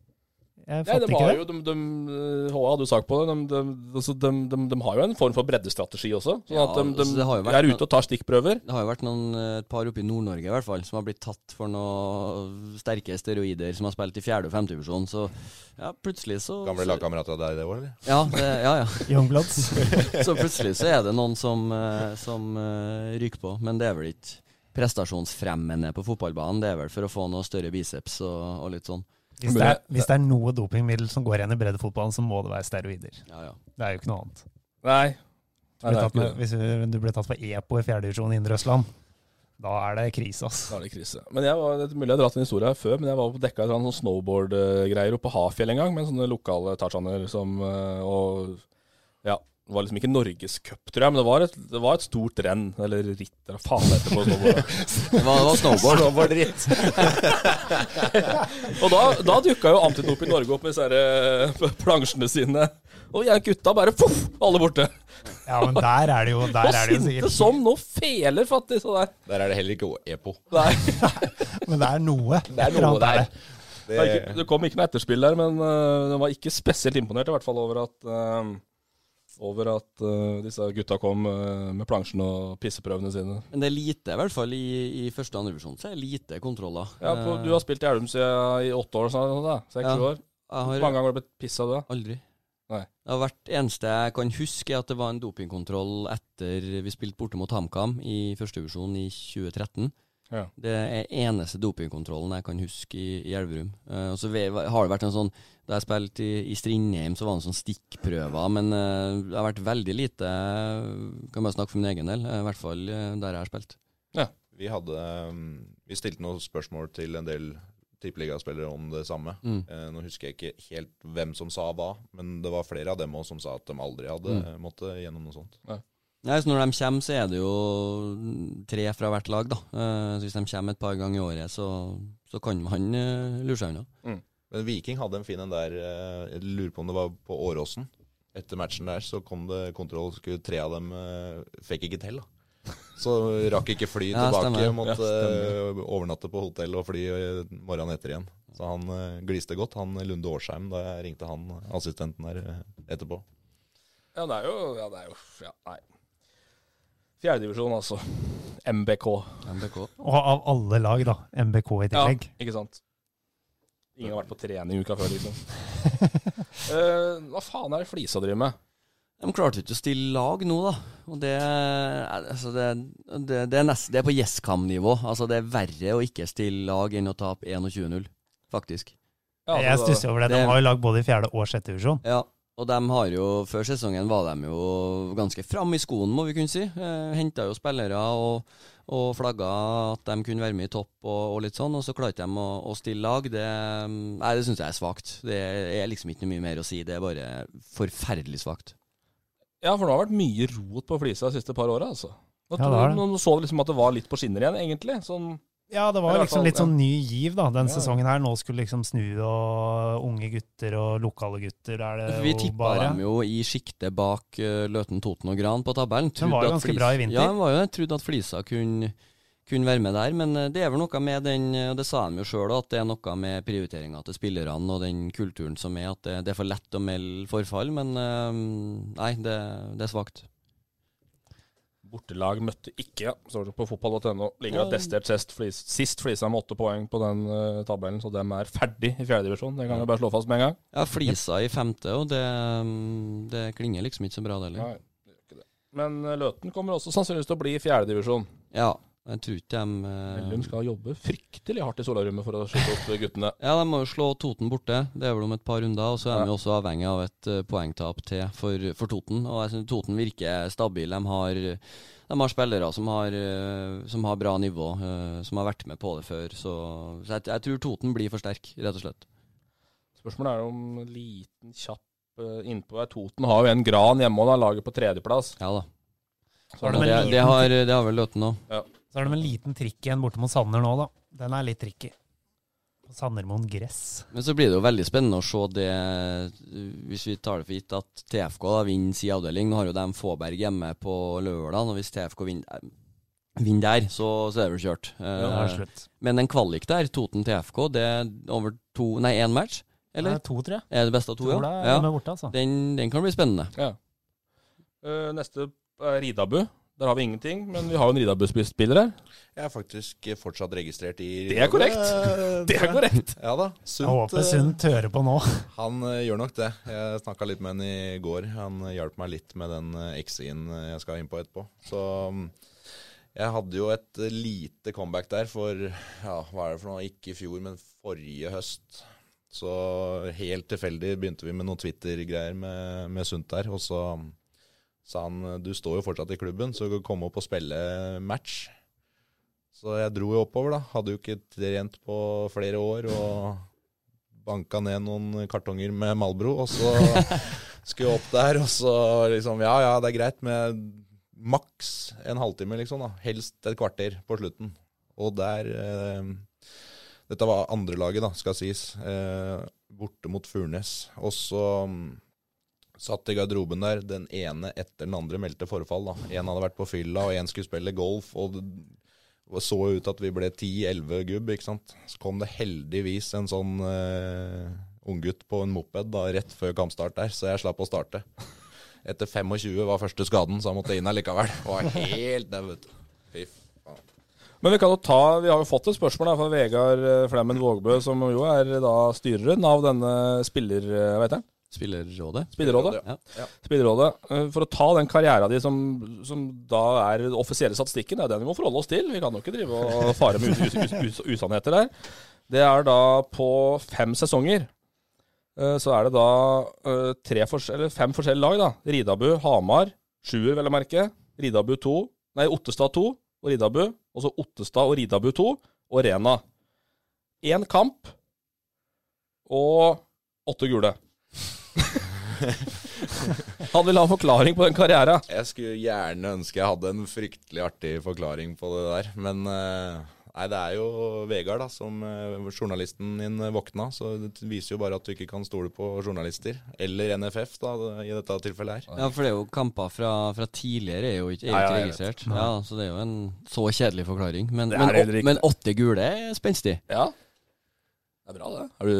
Jeg Nei, fatter det ikke var det. jo, de, de, HA hadde jo sak på det. De, de, altså, de, de, de har jo en form for breddestrategi også. Sånn Ja, at de, altså, de, det har jo vært er noe- ute og tar stikkprøver. Det har jo vært noen, eh, et par oppe i Nord-Norge i hvert fall, som har blitt tatt for noen sterke steroider, som har spilt i fjerde- og femtedivisjon. Så ja, plutselig så Gamle lagkamerat av deg det òg, eller? Ja, det, ja, ja. Youngbloods. Så plutselig så er det noen som, eh, som eh, ryker på. Men det er vel ikke prestasjonsfremmende på fotballbanen. Det er vel for å få noe større biceps og, og litt sånn. Hvis det, er, hvis det er noe dopingmiddel som går igjen i breddefotballen, så må det være steroider. Ja, ja. Det er jo ikke noe annet. Nei. Nei, Blir det er tatt ikke med, det. hvis du- du blir tatt for EPO i fjerdedivisjon i Indre Østland, da er det krise, ass. Da er det krise. Men jeg var, det er mulig jeg har dratt en historie her før, men jeg var på dekka et eller annet sånn snowboard-greier oppe på Hafjell en gang, med sånne lokale tarzaner som eh, Og ja, det var liksom ikke norgescup, tror jeg, men det var et, det var et stort renn, eller ritt, eller faen etterpå. snowboard. Det var, det var snowboard. Snowboard-ritt. og da, da dukka jo Antidoping Norge opp med disse her, eh, plansjene sine, og jeg gutta bare poff, alle borte. Ja, men der er det jo, der Og er det jo sinte sikkert som nå feler, fattig. Så der. Der er det heller ikke EPO. Nei, Men det er noe. Det er noe der. det, er ikke, det kom ikke noe etterspill der, men uh, den var ikke spesielt imponert i hvert fall over at eh, over at eh, disse gutta kom eh, med plansjen og pisseprøvene sine. Men det er lite, i hvert fall i, i første og andre divisjon, så er det lite kontroller. Ja, på, Du har spilt i Elverum siden i åtte år, sånn, da. seks Ja. år. Hvor Eh, Jeg har mange ganger har du blitt pissa, du? da? Aldri. Nei. Det har vært eneste jeg kan huske, er at det var en dopingkontroll etter vi spilte borte mot HamKam i førstevisjon i 2013. Ja. Det er eneste dopingkontrollen jeg kan huske i, i Elverum. Eh, og så ve- har det vært en sånn Da jeg spilte i, i Strindheim, så var det en sånn stikkprøver, men eh, det har vært veldig lite eh, Kan bare snakke for min egen del, eh, i hvert fall eh, der jeg har spilt. Vi hadde um, Vi stilte noen spørsmål til en del tippeligaspillere om det samme. Mm. Eh, nå husker jeg ikke helt hvem som sa hva, men det var flere av dem også som sa at de aldri hadde Mm. eh, måttet gjennom noe sånt. Nei, så Når de kommer, så er det jo tre fra hvert lag. da. Eh, så Hvis de kommer et par ganger i året, så, så kan man eh, lure seg unna. Men Viking hadde en fin en der, eh, jeg lurer på om det var på Åråsen. Etter matchen der så kom det kontroll, skulle tre av dem eh, fikk ikke til. da. Så rakk ikke fly Ja, tilbake, stemmer. måtte Ja, stemmer. eh, overnatte på hotell og fly eh, morgenen etter igjen. Så han eh, gliste godt, han Lunde Årsheim, da jeg ringte han assistenten der eh, etterpå. Ja, det er jo Ja, det er jo, ja nei. Fjerdedivisjon, altså. MBK. MBK. Og av alle lag, da. MBK i Ja, tillegg. ikke sant. Ingen har vært på trening uka før, liksom. Eh, hva faen er det Flisa driver med? De klarte ikke å stille lag nå, da. Og det, altså det, det, det, er, nest, det er på Gjesskam-nivå. Altså det er verre å ikke stille lag enn å tape 21-0, faktisk. Ja, Jeg altså, stusser over det. De det- har jo lag både i fjerde og sjette divisjon. Ja, Og de har jo, Før sesongen var de jo ganske framme i skoen, må vi kunne si. Eh, Henta jo spillere og, og flagga at de kunne være med i topp og, og litt sånn, og så klarte de å, å stille lag. Det, mm, nei, det syns jeg er svakt. Det er liksom ikke noe mye mer å si. Det er bare forferdelig svakt. Ja, for det har vært mye rot på flisa de siste par åra, altså. Nå, Ja, tror- det har det. nå- nå så du liksom at det var litt på skinner igjen, egentlig. Sånn, Ja, det var Eller i hvert liksom fall, litt ja. sånn ny giv da, den Ja. sesongen her. Nå skulle liksom snu, og unge gutter og lokale gutter er det Vi jo tippa Eh, bare. dem jo i sjiktet bak eh, Løten, Toten og Gran på tabellen. Den var jo Trodde at ganske bra i vinter. Ja, den var jo det. Trodde at Flisa kunne, kunne være med der. Men eh, det er vel noe med den, eh, og det sa de jo sjøl, at det er noe med prioriteringa til spillerne og den kulturen som er, at det, det er for lett å melde forfall. Men eh, nei, det, det er svakt. bortelag møtte ikke, står det på fotball.no. Ligger ja. desidert sist, flis, sist flisa med åtte poeng på den eh, tabellen, så dem er ferdig i fjerdedivisjon. Det kan jeg bare slå fast med en gang. Ja, Flisa i femte, og det, mm, det klinger liksom ikke så bra, det heller. Nei, det gjør ikke det. Men eh, Løten kommer også sannsynligvis til å bli i fjerdedivisjon. Ja, jeg tror ikke de eh, Hellum skal jobbe fryktelig hardt i solarommet for å skyte opp guttene. Ja, de må jo slå Toten borte. Det er vel om et par runder. Og så er de jo også avhengig av et eh, poengtap til for, for Toten. Og jeg synes Toten virker stabil. De har, de har spillere som har, eh, som har bra nivå, eh, som har vært med på det før. Så, så jeg, jeg tror Toten blir for sterk, rett og slett. Spørsmålet er om en liten, kjapp eh, innpå her. Toten har jo en gran hjemme, og da er laget på tredjeplass. Ja da. Så det Det, med det, liten- har, det har vel Løten òg. Så er det med en liten trikk igjen borte mot Sanner nå, da. Den er litt tricky. På Sandermoen gress. Men så blir det jo veldig spennende å se det, eh, hvis vi tar det for gitt at TFK da vinner sin avdeling. Nå har jo de Fåberg hjemme på lørdag, og hvis TFK vinner eh, vinner der, så, så er det vel kjørt. Det Eh, er slutt. Men en kvalik der, Toten til FK, det er over to Nei, én match? Eller? Det er Eh, to, tror jeg. Er det beste av to, Tror ja? det er ja. med borte, altså. Den, den kan bli spennende. Eh, neste er Ridabu. Der har vi ingenting, men vi har jo en Ridabu-spiller her. Jeg er faktisk eh, fortsatt registrert i Det er korrekt. Det er korrekt. Ja da. Jeg håper eh, Sundt hører på nå. Han eh, gjør nok det. Jeg snakka litt med han i går. Han hjalp meg litt med den eh, X-en eh, jeg skal inn på etterpå. Så mm, jeg hadde jo et eh, lite comeback der for ja, hva er det for noe? Ikke i fjor, men forrige høst. Så helt tilfeldig begynte vi med noen Twitter-greier med, med Sundt der. Og så mm, sa han eh, du står jo fortsatt i klubben, så kom opp og spille eh, match. Så jeg dro jo oppover, da. Hadde jo ikke trent på flere år. og banka ned noen kartonger med Malbro, og så skulle jeg opp der, og så liksom Ja, ja, det er greit med maks en halvtime, liksom, da. Helst et kvarter på slutten. Og der eh, Dette var andrelaget, da, skal sies. Eh, borte mot Furnes. Og så mm, satt i garderoben der, den ene etter den andre meldte forfall, da. En hadde vært på fylla, og en skulle spille golf, og det og så ut at vi ble 10-11 gubb, ikke sant. Så kom det heldigvis en sånn uh, unggutt på en moped da, rett før kampstart der, så jeg slapp å starte. Etter 25 var første skaden, så jeg måtte inn allikevel. Var helt der, vet du. Fy faen. Men vi kan jo ta, vi har jo fått et spørsmål her fra Vegard eh, Flemmen Vågbø, som jo er eh, da styreren av denne spiller, eh, hva heter den? Spillerrådet. Spillerrådet. Ja. Spillerrådet. Eh, For å ta den karriera di som, som da er den offisielle statistikken, det er den vi må forholde oss til. Vi kan jo ikke drive og fare med us us us usannheter der. Det er da på fem sesonger. eh, Så er det da eh, tre fors eller fem forskjellige lag, da. Ridabu, Hamar, sjuer, vel å merke. Ridabu 2, nei, Ottestad 2 og Ridabu. Og så Ottestad og Ridabu 2 og Rena. Én kamp og åtte gule. Han vil ha en forklaring på den karriera. Jeg skulle gjerne ønske jeg hadde en fryktelig artig forklaring på det der, men eh, Nei, det er jo Vegard, da, som eh, journalisten din våkna. Så det viser jo bare at du ikke kan stole på journalister. Eller NFF, da, i dette tilfellet her. Ja, for det er jo kamper fra, fra tidligere er jo ikke, er Ja, ja, jo jeg ikke vet. registrert. Ja, Så det er jo en så kjedelig forklaring. Men, Det er men, heller ikke åt- men åtte gule er spenstig. Ja. Det er bra, det. Er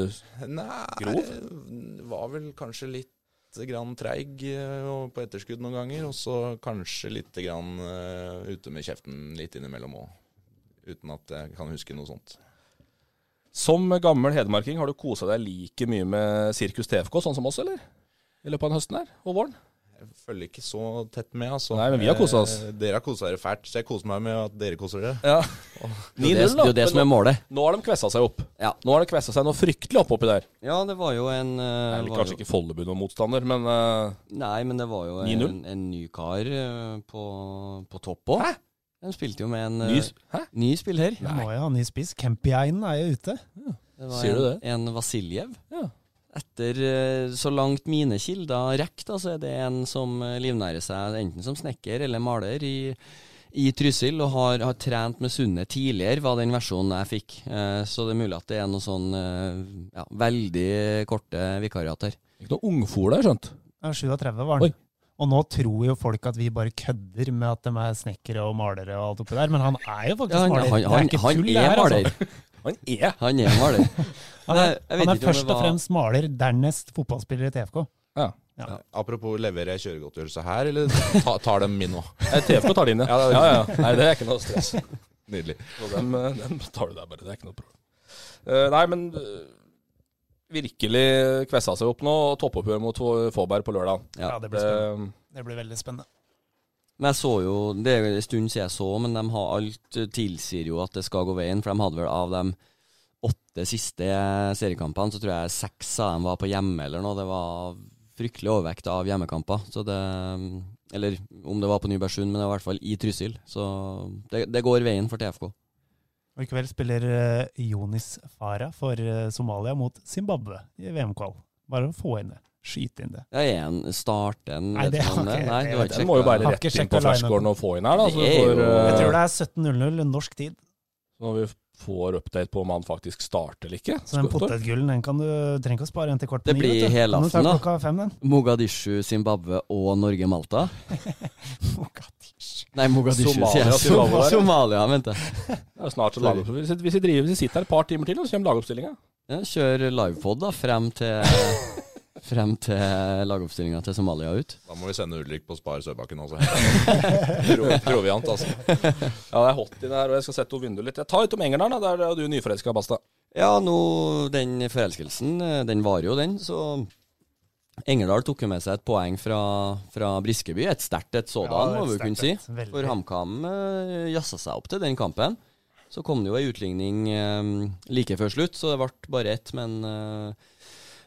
du Nei, Grov? var vel kanskje litt grann treig eh, og på etterskudd noen ganger, og så kanskje litt grann eh, ute med kjeften litt innimellom òg. Uten at jeg kan huske noe sånt. Som gammel hedmarking, har du kosa deg like mye med Sirkus TFK, sånn som oss, eller? I løpet av den høsten her, og våren? Jeg følger ikke så tett med, altså. Nei, men vi har koset oss. Eh, Dere har kosa dere fælt, så jeg koser meg med at dere koser dere. Ja. Det er jo det, det, er jo det som er målet. Nå har de kvessa seg opp. Ja. Nå har de kvessa seg noe fryktelig opp oppi der. Ja, det var jo en eh, Eller var kanskje jo, ikke Follebu noen motstander, men eh, Nei, men det var jo 9-0? en, en ny kar eh, på, på topp òg. De spilte jo med en eh, ny s- Hæ? ny spiller. Nå må jo ha ny spiss. Campyainen er jo ute. Det var Sier en, du det? en Vasiljev. Ja. Etter eh, så langt mine kilder rekker, da, så er det en som eh, livnærer seg enten som snekker eller maler i, i Trysil, og har, har trent med Sunne tidligere, var den versjonen jeg fikk. Eh, så det er mulig at det er noe sånn eh, ja, veldig korte vikariat her. Ikke noe ungfol der, skjønt. Ja, 37 var han. Oi. Og nå tror jo folk at vi bare kødder med at de er snekkere og malere og alt oppi der, men han er jo faktisk Ja, han, maler. han, han, det er ikke han tull, det er her, altså. maler. Han er Han er maler. Han er, Nei, jeg han vet ikke om er det først og var- fremst maler, dernest fotballspiller i TFK. Apropos leverer jeg kjøregodtgjørelse her, eller ta, tar de min nå? Eh, TFK tar det inn, ja. Ja, det er- ja, ja. Nei, det er ikke noe stress. Nydelig. Og Dem, eh, dem tar du der bare, det er ikke noe problem. Eh, nei, men eh, virkelig kvessa seg opp nå, og toppoppgjør mot Få- Fåberg på lørdag. Ja, eh, Ja, det blir spennende. Ehm, Det blir veldig spennende. Men jeg så jo, Det er jo en stund siden jeg så, men de har alt eh, tilsier jo at det skal gå veien. For de hadde vel av de åtte siste seriekampene, så tror jeg seks av dem var på hjemme eller noe. Det var fryktelig overvekt av hjemmekamper. Så det, eller om det var på Nybergsund, men det var i hvert fall i Trysil. Så det, det går veien for TFK. Og I kveld spiller eh, Jonis Farah for eh, Somalia mot Zimbabwe i VM-kval. Bare å få inn det. Skyte inn det. Ja, er en start en Nei, det har ikke- Nei, du har ikke Den må jo sjekket bare det. Har rett ikke inn på sjekket ferskgården og få inn her, da. Så, Det er vi får, jo- eh, Jeg tror det er 17.00 norsk tid. når vi får update på om han faktisk starter eller ikke. Så Skal- den potetgullen den kan du trenger ikke å spare en til kort på Det ni, blir vet du. hele Kan du ta aften, da. klokka fem, den? Mogadishu, Zimbabwe og Norge-Malta. Mogadishu. Nei, Mogadishu, sier Somalia, jeg. Zimbabwe der, ja. Somalia, venter jeg. Det er snart så lager vi sitter- Hvis vi driver, hvis vi sitter her et par timer til, så kommer lagoppstillinga. Ja, kjør livepod da, frem til, frem til lagoppstillinga til Somalia ut. Da må vi sende Ulrik på Spar Sørbakken også. Pro- Proviant, altså. Ja, det er hot inne her, og jeg skal sette opp vinduet litt. Jeg tar litt om Engerdal, da. Der er du nyforelska, Basta. Ja, nå, den forelskelsen, eh, den var jo den, så Engerdal tok jo med seg et poeng fra, fra Briskeby. Et sterkt Ja, et det sådan, er må vi et jo kunne si. sterkt et, veldig. For HamKam eh, jassa seg opp til den kampen. Så kom det jo ei utligning eh, like før slutt, så det ble bare ett, men eh,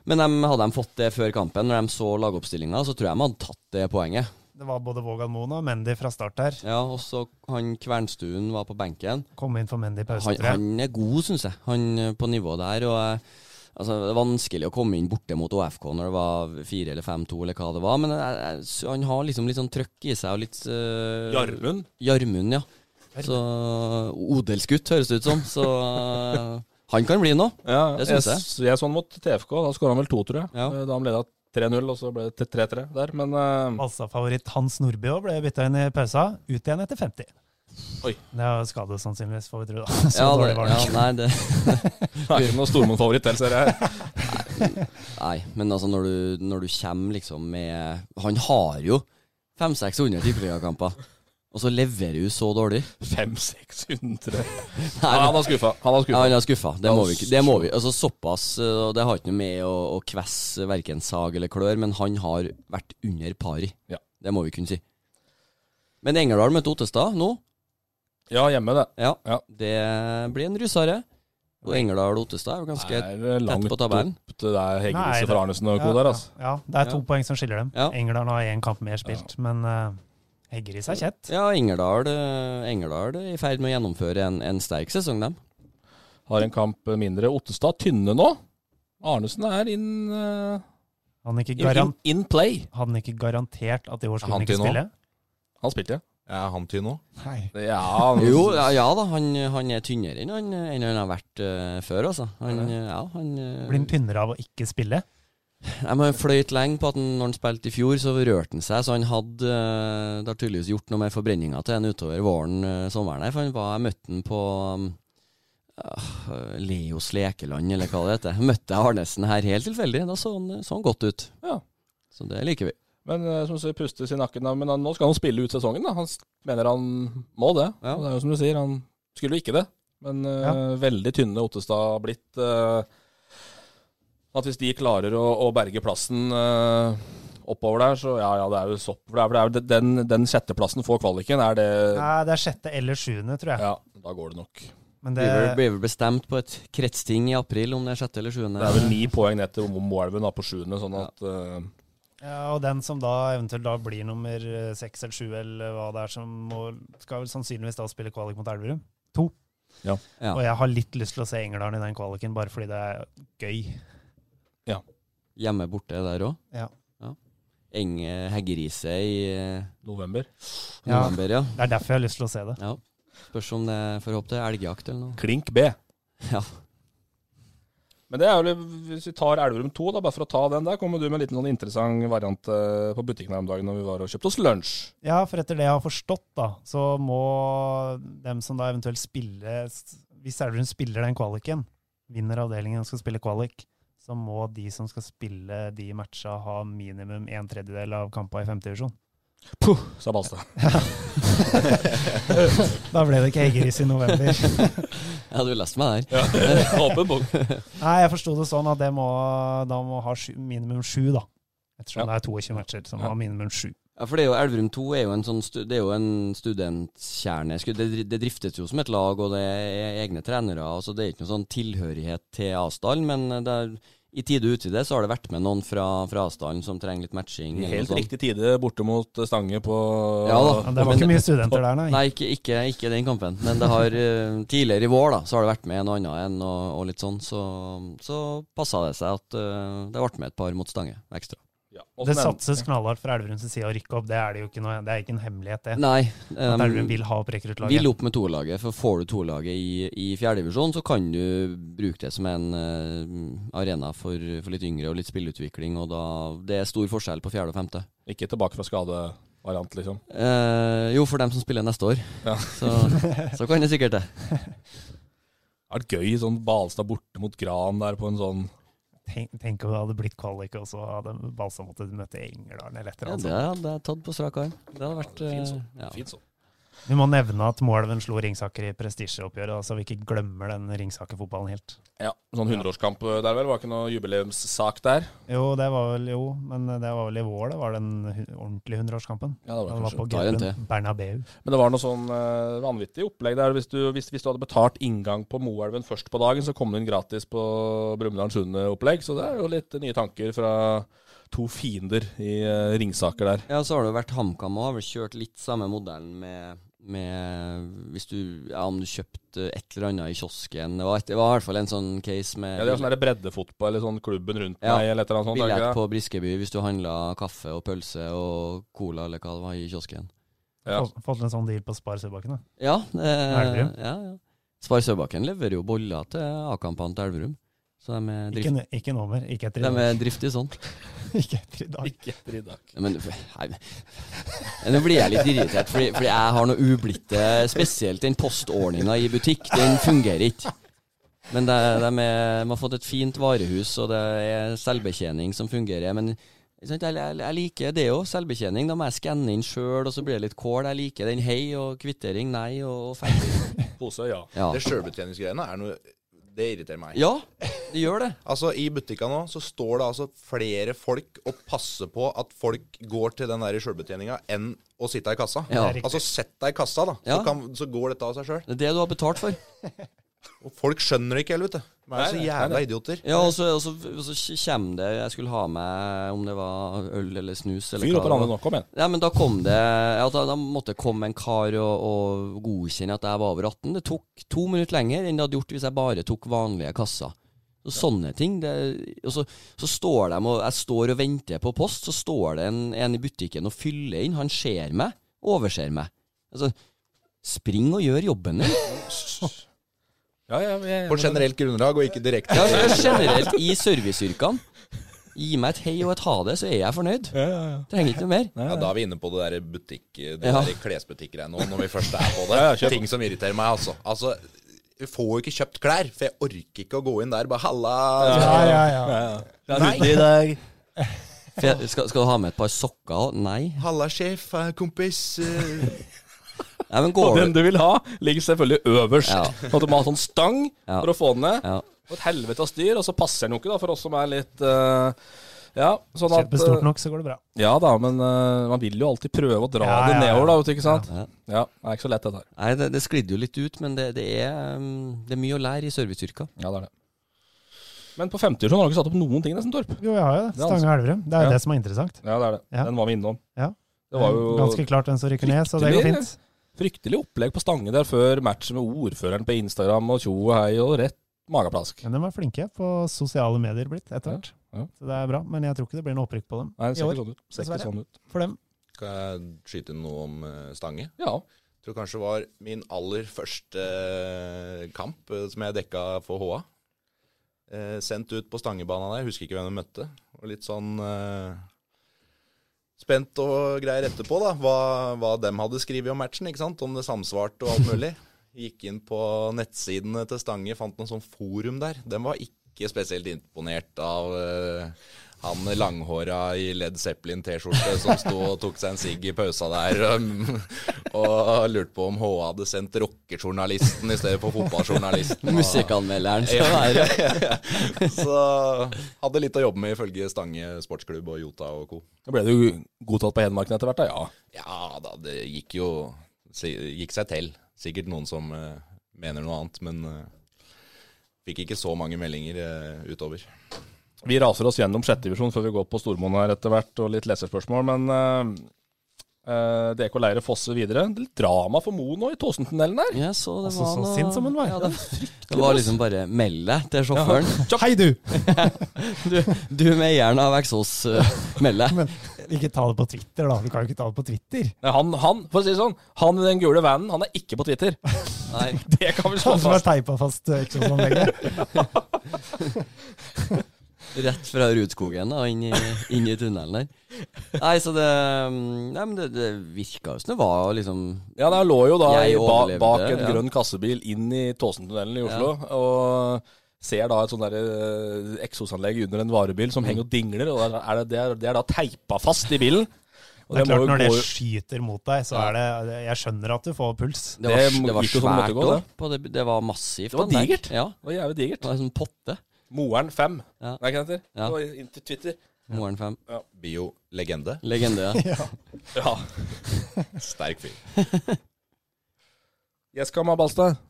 men de, hadde de fått det før kampen, når de så lagoppstillinga, så tror jeg de hadde tatt det poenget. Det var både Vågan Moen og Mendy fra start her. Ja, og så han Kvernstuen var på benken. Kom inn for Mendy i pause, Han, tror jeg. han er god, syns jeg. Han eh, på nivået der. Og jeg- altså, det er vanskelig å komme inn borte mot OFK når det var 4 eller 5-2 eller hva det var, men jeg, jeg, så han har liksom litt sånn trøkk i seg og litt eh, Jarmund. Jarmund, ja. Så Odelsgutt høres det ut som. Så eh, han kan bli noe. Ja, Det syns jeg. Jeg så han mot TFK, da skåra han vel to, tror jeg. Ja. Eh, Da han leda 3-0, og så ble det 3-3 der. Men eh, Balsa-favoritt Hans Nordby òg ble bytta inn i pausa. Ut igjen etter 50. Oi. Det er jo skade, sannsynligvis, får vi tro. da. Så Ja, det, dårlig var det ja, ikke. nei, det, det er ikke noe Stormoen-favoritt til, ser jeg. nei, men altså når du, når du kommer liksom med Han har jo 500-600 tippeligakamper, og så leverer du så dårlig. 500-600 Nei, Ja, han var skuffa. Han var Ja, skuffa. han er skuffa. Det må vi ikke. Det må vi. Altså, såpass, eh, og det har ikke noe med å, å kvesse verken sag eller klør, men han har vært under pari. Ja. Det må vi kunne si. Men Engerdal møtte Ottestad nå. Ja, hjemme, det. Ja. Ja. Det blir en russere. Og Engerdal og Ottestad er jo Det ganske er eh, tett langt på opp tabellen. det der Nei, Heggelhuset det- for Arnesen og co. Ja, der, ja, altså. ja, det er to Ja. poeng som skiller dem. Ja. England har én kamp mer spilt, men uh, Heggeris er kjett. Ja, Engerdal, eh, Engerdal er i ferd med å gjennomføre en, en sterk sesong, dem. Har en kamp mindre. Ottestad tynne nå. Arnesen er in, eh, Han ikke in, in, garan in play. hadde han ikke garantert at i år skulle Han han ikke til nå? spille? Han spilte, Jeg er han til nå. Nei. ja. Jo, ja, ja da, han, han er tynnere enn han, enn han har vært eh, før, altså. Han, eh, ja, han eh, Blir han tynnere av å ikke spille? Nei, men Han fløyt lenge på at han, når han spilte i fjor, så rørte han seg. Så han hadde eh, Det har tydeligvis gjort noe med forbrenninga til han utover våren, eh, sommeren her. For han var, jeg møtte han på eh, Leos lekeland, eller hva det heter. Møtte jeg Arnesen her helt tilfeldig. Da så han, så han godt ut. Ja. Så det liker vi. Men eh, som du sier, pustes i nakken. da, Men han, nå skal han spille ut sesongen. da. Han s- mener han må det. Ja. Og Det er jo som du sier, han skulle jo ikke det. Men eh, veldig tynne Ottestad har blitt. eh, at hvis de klarer å, å berge plassen eh, oppover der, så ja, ja, det er jo sopp. For det er, for det er, jo det- den, den sjetteplassen får kvaliken, er det Nei, det er sjette eller sjuende, tror jeg. Ja, da går det nok. Men Det det, blir vel- blir vel bestemt på et kretsting i april, om det er sjette eller sjuende. Det er vel ni poeng ned til Moelven da, på sjuende, sånn at eh, ja, og den som da eventuelt da blir nummer eh, seks eller sju, eller hva det er som må, skal vel sannsynligvis da spille kvalik mot Elverum. To. Ja. Ja. Og jeg har litt lyst til å se Engerdalen i den kvaliken, bare fordi det er gøy. Hjemme borte der òg. Ja. Enge Heggerise i eh, november. Ja. november, ja. Det er derfor jeg har lyst til å se det. ja. Spørs om det får håpe det er elgjakt eller noe. Klink B. Ja. Men det er jo, litt- hvis vi tar Elverum 2, da, bare for å ta den der, kommer du med en liten sånn interessant variant eh, på butikken her om dagen når vi var og kjøpte oss lunsj. Ja, for etter det jeg har forstått, da, så må dem som da eventuelt spiller Hvis Elverum spiller den kvaliken, vinner avdelingen og skal spille kvalik, så må de som skal spille de matcha, ha minimum en tredjedel av kampa i femtedivisjon. Puh, sa Balstad. Da ble det ikke Eggeris i november. ja, du leste meg der. Ja, Åpen bok. Nei, jeg forsto det sånn at det må, da må ha sju, minimum sju, da. Ettersom Ja. det er 22 matcher som har minimum sju. Ja, for det er jo Elverum 2 er jo en sånn stu, det er jo en studentkjerne. Skulle- Det, det driftes jo som et lag, og det er egne trenere. Altså, det er ikke noen sånn tilhørighet til Asdal, men det er, i tide og utide så har det vært med noen fra, fra Asdalen som trenger litt matching. eller noe Helt sånt. riktig tide borte mot Stange på Ja da. Ja, det var ikke mye studenter der, nei. Nei, ikke, ikke, ikke den kampen. Men det har eh, tidligere i vår da Så har det vært med en og annen en og, og litt sånn. Så, så passa det seg at eh, det ble med et par mot Stange ekstra. Ja, og Det så nevnte- satses knallhardt fra Elverums side å rykke opp, det er det jo ikke noe, det er ikke en hemmelighet, det. Nei. At em, Elverum vil ha opp rekruttlaget. vil opp med toerlaget, for får du toerlaget i, i fjerdedivisjon, så kan du bruke det som en eh, arena for, for litt yngre og litt spillutvikling, og da Det er stor forskjell på fjerde og femte. Ikke tilbake fra skadevariant, liksom. Eh, jo, for dem som spiller neste år, Ja. så, så kan det sikkert det. Det hadde vært gøy sånn Balstad borte mot Gran der på en sånn Tenk, tenk om det hadde blitt kvalik, og så hadde Balsa måttet møte Engerdalen eller et eller Ja, annet. det hadde jeg tatt på strak arm. Det hadde vært Fin eh, sånn. ja. Fint sånn. sånt. Vi må nevne at Moelven slo Ringsaker i prestisjeoppgjøret, da, så vi ikke glemmer den Ringsaker-fotballen helt. Ja, sånn 100-årskamp der vel? Var ikke noe jubileumssak der? Jo, det var vel jo, men det var vel i vår, det var den hu- ordentlige hundreårskampen. Ja, det var Den var kanskje. på Ta en til. Gaupen Bernabeu. Men det var noe sånn eh, vanvittig opplegg der. Hvis du, hvis, hvis du hadde betalt inngang på Moelven først på dagen, så kom du inn gratis på Brumunddal Sunde-opplegg. Så det er jo litt nye tanker fra to fiender i eh, Ringsaker der. Ja, så har det jo vært HamKam og har vel kjørt litt samme modellen med, med hvis du, ja, om du kjøpte et eller annet i kiosken. Det var, et, det var i hvert fall en sånn case med Ja, det er sånn der breddefotball eller sånn klubben rundt Ja. meg eller et eller annet sånt. er det billett ikke det? på Briskeby hvis du handla kaffe og pølse og cola eller hva det var i kiosken. Ja. Fått- Fått en sånn deal på Spar Sørbakken, da. Ja. Eh, ja, Elverum? ja. Spar Sørbakken leverer jo boller til A-kampene til Elverum. Så de er, Ikke, drift, n- ikke nummer, ikke etter i de dag. er driftige sånn. Ikke etter i dag. Ikke etter i dag. Ja, Men nei, men nå blir jeg litt irritert, fordi, fordi jeg har noe ublitte Spesielt den postordninga i butikk, den fungerer ikke. Men det, de, er, de har fått et fint varehus, og det er selvbetjening som fungerer. Men ikke sant, jeg, jeg, jeg liker det òg, selvbetjening. Da må jeg skanne inn sjøl, og så blir det litt kål. Jeg liker den hei og kvittering nei og, og ferdig. Pose, ja. Ja. Det sjølbetjeningsgreiene er noe Det irriterer meg. ja, det gjør det. Altså, I butikka nå så står det altså flere folk og passer på at folk går til den der sjølbetjeninga enn å sitte i kassa. Ja. Det er riktig. Altså, sett deg i kassa, da. Så, Ja. kan, så går dette av seg sjøl. Det er det du har betalt for. Og folk skjønner det ikke heller, vet du. De er så jævla idioter. Ja, og så, og så, og så kommer det Jeg skulle ha med om det var øl eller snus eller Fyr hva opp det var. ranet nå, kom igjen. Ja, men da kom det ja, da, da måtte det komme en kar og, og godkjenne at jeg var over 18. Det tok to minutter lenger enn det hadde gjort hvis jeg bare tok vanlige kasser. Så sånne ting. Det, og så, så står de og Jeg står og venter på post, så står det en, en i butikken og fyller inn. Han ser meg, overser meg. Altså, spring og gjør jobben din. Ja, ja, ja, ja. På generelt grunnlag og ikke direkte. Ja, altså, generelt i serviceyrkene. Gi meg et hei og et ha det, så er jeg fornøyd. Trenger ikke noe mer. Ja, Da er vi inne på det der butikk, det Ja. der klesbutikkgreiene nå, når vi først er på det. Ja, ja, kjør på. Ting som irriterer meg, altså. Altså, vi får jo ikke kjøpt klær, for jeg orker ikke å gå inn der bare 'halla'. Ja, ja, ja. Nei. For jeg- Skal, skal du ha med et par sokker òg? Nei. 'Halla, sjef, eh, kompis'. eh. Nei, men Og går den du vil ha, ligger selvfølgelig øverst. Ja. Sånn at du må ha sånn stang Ja. for å få den ned. Ja. Og et helvete av styr, og så passer den jo ikke da, for oss som er litt eh, Ja, sånn at, Kjempestort nok, så går det bra. Ja da, men eh, man vil jo alltid prøve å dra Ja, det ja, ja. nedover, da, vet du, ikke sant? Ja. Ja, det er ikke så lett, dette her. Nei, det, det sklidde jo litt ut, men det, det, er, um, det er mye å lære i serviceyrka. Ja, det er det. Men på 50 har du ikke satt opp noen ting, nesten, Torp. Jo, jeg har jo det. Det er altså- Stange Elverum. Det er jo Ja. det som er interessant. Ja, det er det. Ja. Den var vi innom. Ja. Det var jo Ganske klart hvem som rykker ned, så det går fryktelig- fint. Fryktelig opplegg på Stange der før matchen med ordføreren på Instagram og tjo og hei og rett mageplask. Men de er flinke på sosiale medier blitt etter hvert. Ja, ja. Så det er bra. Men jeg tror ikke det blir noe opprykk på dem Nei, det i ser år. ikke sånn ut. Ser ikke dessverre. sånn ut. For dem. Skal jeg skyte inn noe om eh, Stange? Ja. tror kanskje det var min aller første eh, kamp eh, som jeg dekka for HA. Eh, sendt ut på Stangebanen der, husker ikke hvem jeg møtte. Og litt sånn eh, spent og greier etterpå, da. Hva, hva dem hadde skrevet om matchen, ikke sant? om det samsvarte og alt mulig. Gikk inn på nettsidene til Stange, fant noen sånn forum der. Den var ikke spesielt imponert av eh, han langhåra i Led Zeppelin-T-skjorte som sto og tok seg en sigg i pausa der. Um, og lurte på om HA hadde sendt rockejournalisten i stedet for fotballjournalisten. Musikkanmelderen skal Ja. være Så hadde litt å jobbe med ifølge Stange sportsklubb og Jota og co. Da ble det jo godtatt på Hedmarken etter hvert, da. Ja. Ja da, det gikk jo si- gikk seg til. Sikkert noen som eh, mener noe annet, men eh, fikk ikke så mange meldinger eh, utover. Vi raser oss gjennom sjette divisjon før vi går på Stormoen her etter hvert, og litt leserspørsmål. Men eh, eh, DK Leire Fosse videre. Det er Litt drama for Moen nå i Tåsentunnelen her. Ja, så det Altså, var så noe- sint som han var. Ja, det, det var liksom bare meld deg til sjåføren. Hei, du! Du, du med eieren av Exos, eh, meld deg. Men ikke ta det på Twitter, da. Du kan jo ikke ta det på Twitter. Nei, Han, han, for å si det sånn, han i den gule vanen, han er ikke på Twitter. Nei, Det kan vi slå Han som er fast. teipa fast eh, eksosanlegget. rett fra Rudskogen og inn i, inn i tunnelen der. Nei, så det mm, Nei, men det, det virka jo som det var liksom Ja, der lå jo da i Jeg ba, overlevde, bak en ja. grønn kassebil inn i Tåsentunnelen i Oslo. Og ser da et sånn der, eh, eksosanlegg under en varebil som henger og dingler, og der er det, det, er, det er da teipa fast i bilen. Og Det er må klart, jo når det gå- skyter mot deg, så er det Jeg skjønner at du får puls. Det var, Det det var gikk jo som det måtte svært gå, det. opp, og det, det var massivt. Det var anlegg. digert. Ja, det var jævlig det digert. var en sånn potte. Moeren 5. Ja. Nei, hva heter det? Ja. Det var Inn til Twitter. Moren 5. Bio-legende. Legende. ja. Ja. Sterk fyr. Jeskam Balstad.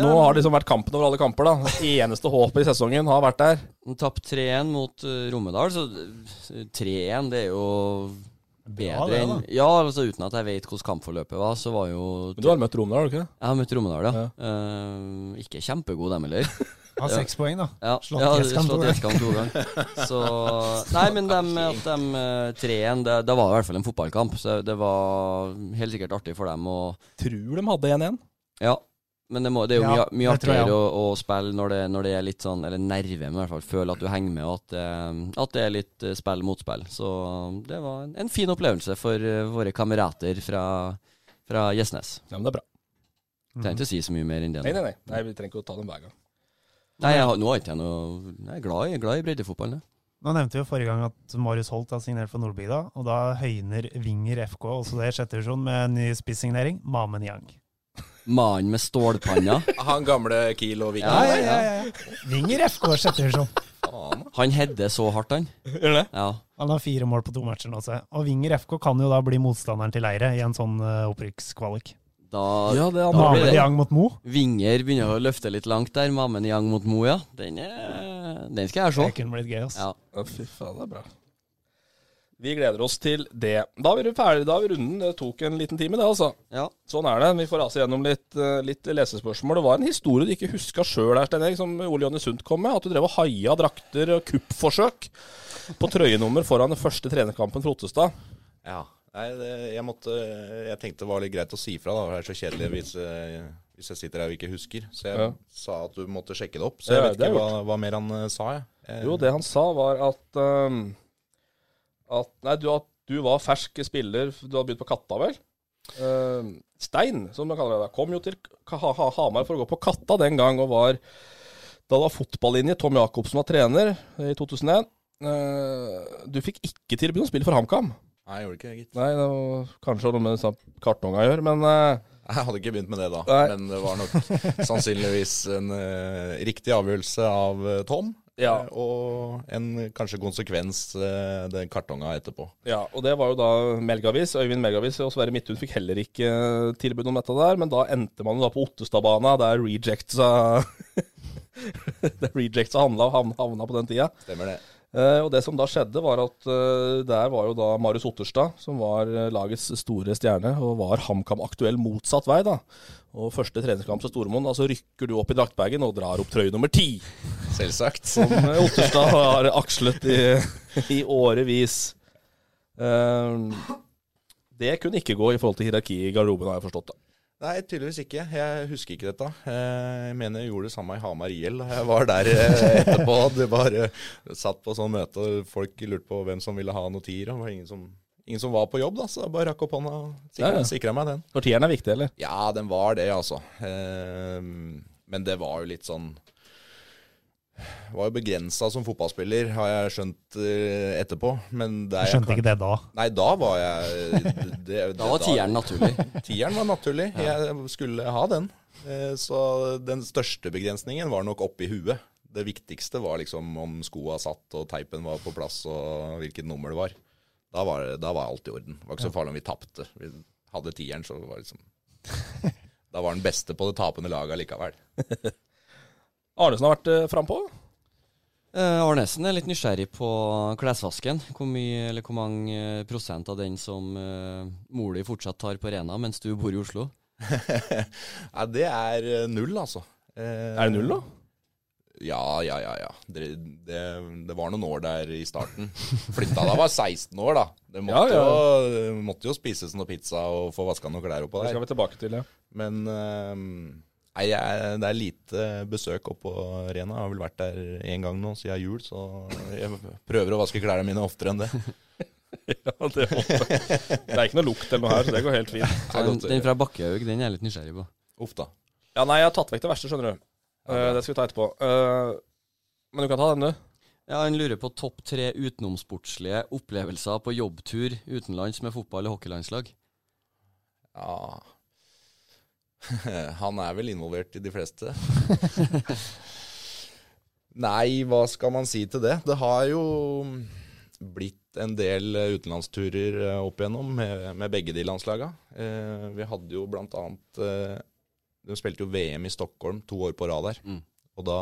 Nå har det liksom vært kampen over alle kamper, da. Det eneste håpet i sesongen har vært der. Tapt 3-1 mot eh, Romedal, så eh, 3-1 det er jo Bra, bedre det, enn da. Ja, altså uten at jeg vet hvordan kampforløpet var, så var jo Men du har møtt Romdal, har du ikke det? Jeg har møtt Romedal, ja. Eh, ikke kjempegod, dem heller. Han har seks poeng, da. Ja, Slått ja, Jeskan to slått ganger. Jeskan to ganger. Så Nei, men dem, at dem eh, 3-1, det, det var i hvert fall en fotballkamp. Så det var helt sikkert artig for dem å Tror de hadde 1-1. Ja. Men det, må, det er jo Ja, mye, mye det tror jeg artigere å, å spille når det, når det er litt sånn Eller nerve, men i hvert fall føle at du henger med, og at, eh, at det er litt eh, spill mot spill. Så det var en, en fin opplevelse for eh, våre kamerater fra, fra Gjesnes. Ja, men det er bra. Mhm. Mm. Trenger ikke å si så mye mer enn det. Nei, nei, nei. nei vi trenger ikke å ta dem hver gang. Nei, jeg, har- nå har ikke jeg noe Jeg er glad i, glad i breddefotballen, jeg. Nå nevnte vi jo forrige gang at Marius Holt har signert for Nordbygda, og da høyner Vinger FK også det i sjette divisjon med en ny spissignering, Mamen Yang. Mannen med stålpanna. Han gamle Kiel og Viking. Ja, ja, ja, Vinger FK i sjette divisjon. Faen. Han hedder så hardt, han. Gjør det? Ja. Han har fire mål på to matcher nå, se. Og Vinger FK kan jo da bli motstanderen til Leire i en sånn eh, opprykkskvalik. Da Ja, det er Da blir Mamen det- Yang mot Mo. Vinger begynner å løfte litt langt der. Mammen Yang mot Moja. Den, er, den skal jeg se. Det kunne blitt gøy, ass. Ja. Ja, fy faen, det er bra. Vi gleder oss til det. Da er vi ferdige. Da er vi runden. Det tok en liten time, det, altså. Ja. Sånn er det. Vi får rase gjennom litt, eh, litt lesespørsmål. Det var en historie du ikke huska sjøl her, Stein Erik, som Ole Jonny Sundt kom med. At du drev og haia drakter og kuppforsøk på trøyenummer foran den første trenerkampen for Ottestad. Ja. Nei, det, jeg, måtte, jeg tenkte det var litt greit å si fra, da. Det er så kjedelig hvis, eh, hvis jeg sitter her og ikke husker. Så jeg Ja. sa at du måtte sjekke det opp. Så jeg Ja, vet det er ikke hva, hva mer han eh, sa, jeg. Eh, Jo, det han sa var at ehm, At Nei, du, at du var fersk spiller. Du hadde begynt på Katta, vel? Ehm, Stein, som de kaller det, da, kom jo til Ka- ha ha Hamar for å gå på Katta den gang, og var Da det var fotballinje, Tom Jacobsen var trener i 2001. Eh, du fikk ikke tilbud om å spille for HamKam. Nei, jeg gjorde ikke det, gitt. Nei, det var kanskje noe med disse kartonga å gjøre, men eh, Jeg hadde ikke begynt med det da. Nei. Men det var nok sannsynligvis en eh, riktig avgjørelse av eh, Tom. Ja. Og en kanskje konsekvens eh, den kartonga etterpå. Ja, og det var jo da Melgavis. Øyvind Melgavis og Sverre Midthun fikk heller ikke eh, tilbud om dette der, men da endte man jo da på Ottestadbana, der Rejectsa der Rejectsa handla og havn- havna på den tida. Stemmer det. Eh, og det som da skjedde, var at eh, der var jo da Marius Otterstad, som var eh, lagets store stjerne, og var HamKam-aktuell motsatt vei, da. Og første treningskamp til Stormoen, da så rykker du opp i draktbagen og drar opp trøye nummer ti. Selvsagt. Som eh, Otterstad har akslet i, i årevis. Ehm, det kunne ikke gå i forhold til hierarkiet i garderoben, har jeg forstått. da. Nei, tydeligvis ikke. Jeg husker ikke dette. Eh, Jeg mener jeg gjorde det samme i Hamar IL. da Jeg var der eh, etterpå. Det var eh, satt på sånn møte, og folk lurte på hvem som ville ha noe tier. og Det var ingen som, ingen som var på jobb, da, så jeg bare rakk opp hånda og Ja, ja. sikra, sikra meg den. Når tieren er viktig, eller? Ja, den var det, altså. Eh, Men det var jo litt sånn Var jo begrensa som fotballspiller, har jeg skjønt eh, etterpå. Men det er Jeg skjønte ikke det da. Nei, da var jeg det, det- Da var tieren naturlig. Tieren var naturlig. Jeg skulle ha den. Eh, Så den største begrensningen var nok oppi huet. Det viktigste var liksom om skoa satt og teipen var på plass og hvilket nummer det var. Da var, det- da var alt i orden. Det var ikke så farlig om vi tapte. Vi hadde tieren, så det var liksom Da var den beste på det tapende laget allikevel. Arnesen har vært eh, frampå. Eh, Arnesen er litt nysgjerrig på klesvasken. Hvor mye eller hvor mange eh, prosent av den som uh, mor di fortsatt tar på Rena mens du bor i Oslo? Nei, det er eh, null, altså. Eh, Er det null, da? Ja, ja, ja. ja. Det, det, det var noen år der i starten. Flytta da jeg var 16 år, da. Det måtte, Ja, ja. Jo, det måtte jo spises noe pizza og få vaska noen klær oppå Det der. skal vi tilbake til, ja. Men ehm, nei, jeg, det er lite besøk oppå Rena. Jeg har vel vært der én gang nå siden jul, så jeg prøver å vaske klærne mine oftere enn det. ja det, håper jeg. det er ikke noe lukt eller noe her, så det går helt fint. Det er Den, godt å den gjøre. fra Bakkehaug den er jeg litt nysgjerrig på. Uff da. Ja, nei, jeg har tatt vekk det verste, skjønner du. Eh, det skal vi ta etterpå. Eh, men du kan ta den, du. Ja, Han lurer på topp tre utenomsportslige opplevelser på jobbtur utenlands med fotball- og hockeylandslag. Ja Han er vel involvert i de fleste. Nei, hva skal man si til det? Det har jo blitt en del eh, utenlandsturer eh, opp igjennom med, med begge de landslaga. Eh, vi hadde jo blant annet eh, De spilte jo VM i Stockholm to år på rad der. Mm. Og da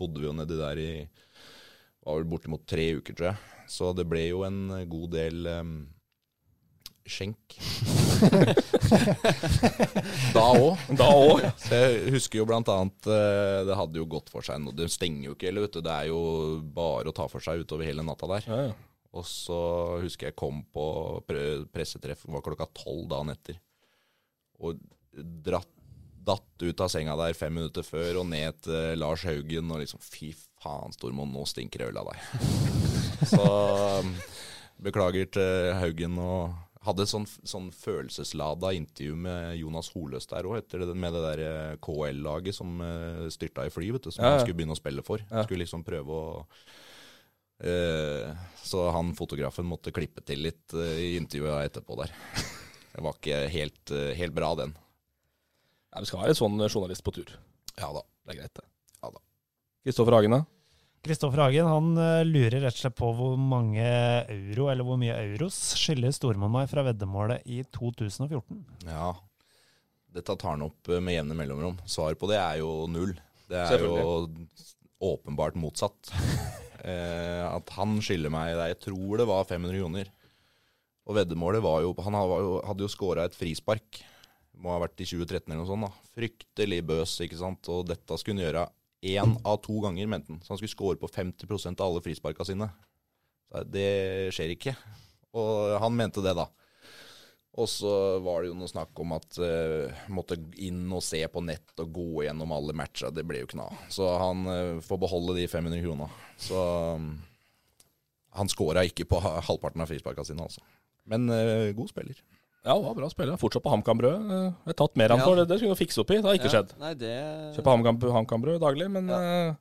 bodde vi jo nedi der i var vel bortimot tre uker, tror jeg. Så det ble jo en god del eh, skjenk. da òg. Da òg. Så Jeg husker jo blant annet eh, Det hadde jo gått for seg noe. Det stenger jo ikke heller, vet du. Det er jo bare å ta for seg utover hele natta der. Ja, ja. Og så husker jeg kom på pre- pressetreff, det var klokka tolv dagen etter. Og dratt, datt ut av senga der fem minutter før og ned til Lars Haugen og liksom Fy faen, Stormoen, nå stinker det øl av deg. så um, beklager til Haugen og hadde sånn, sånn følelseslada intervju med Jonas Holøs der òg, med det der eh, KL-laget som eh, styrta i fly, vet du, som Ja, ja. han skulle begynne å spille for. Ja. Skulle liksom prøve å Eh, Så han fotografen måtte klippe til litt eh, i intervjuet etterpå der. Det var ikke helt, eh, helt bra, den. Ja, vi skal være en sånn journalist på tur. Ja da. Det er greit, det. Ja da. Kristoffer Hagen, da? Kristoffer Hagen han eh, lurer rett og slett på hvor mange euro, eller hvor mye euros, skylder Stormann meg fra veddemålet i 2014. Ja. Dette tar han opp eh, med jevne mellomrom. Svar på det er jo null. Det er jo åpenbart motsatt. Eh, At han skylder meg det. Jeg tror det var 500 kroner. Og veddemålet var jo Han har- var jo- hadde jo scora et frispark. Må ha vært i 2013 eller noe sånt. da. Fryktelig bøs, ikke sant. Og dette skulle han gjøre én av to ganger, mente han. Så han skulle score på 50 av alle frisparka sine. Så Det skjer ikke. Og han mente det, da. Og så var det jo noe snakk om at uh, måtte inn og se på nett og gå gjennom alle matcha. Det ble jo kna. Så han eh, får beholde de 500 krona. Så mm, han scora ikke på ha- halvparten av frisparka sine, altså. Men eh, god spiller. Ja, det var bra spiller. Fortsatt på HamKam-brød. Eh, Jeg har tatt mer enn Ja. for det. Det skulle du fikse opp i. Det har ikke Ja, skjedd. Nei, det... Kjøper HamKam- HamKam-brød daglig, men eh,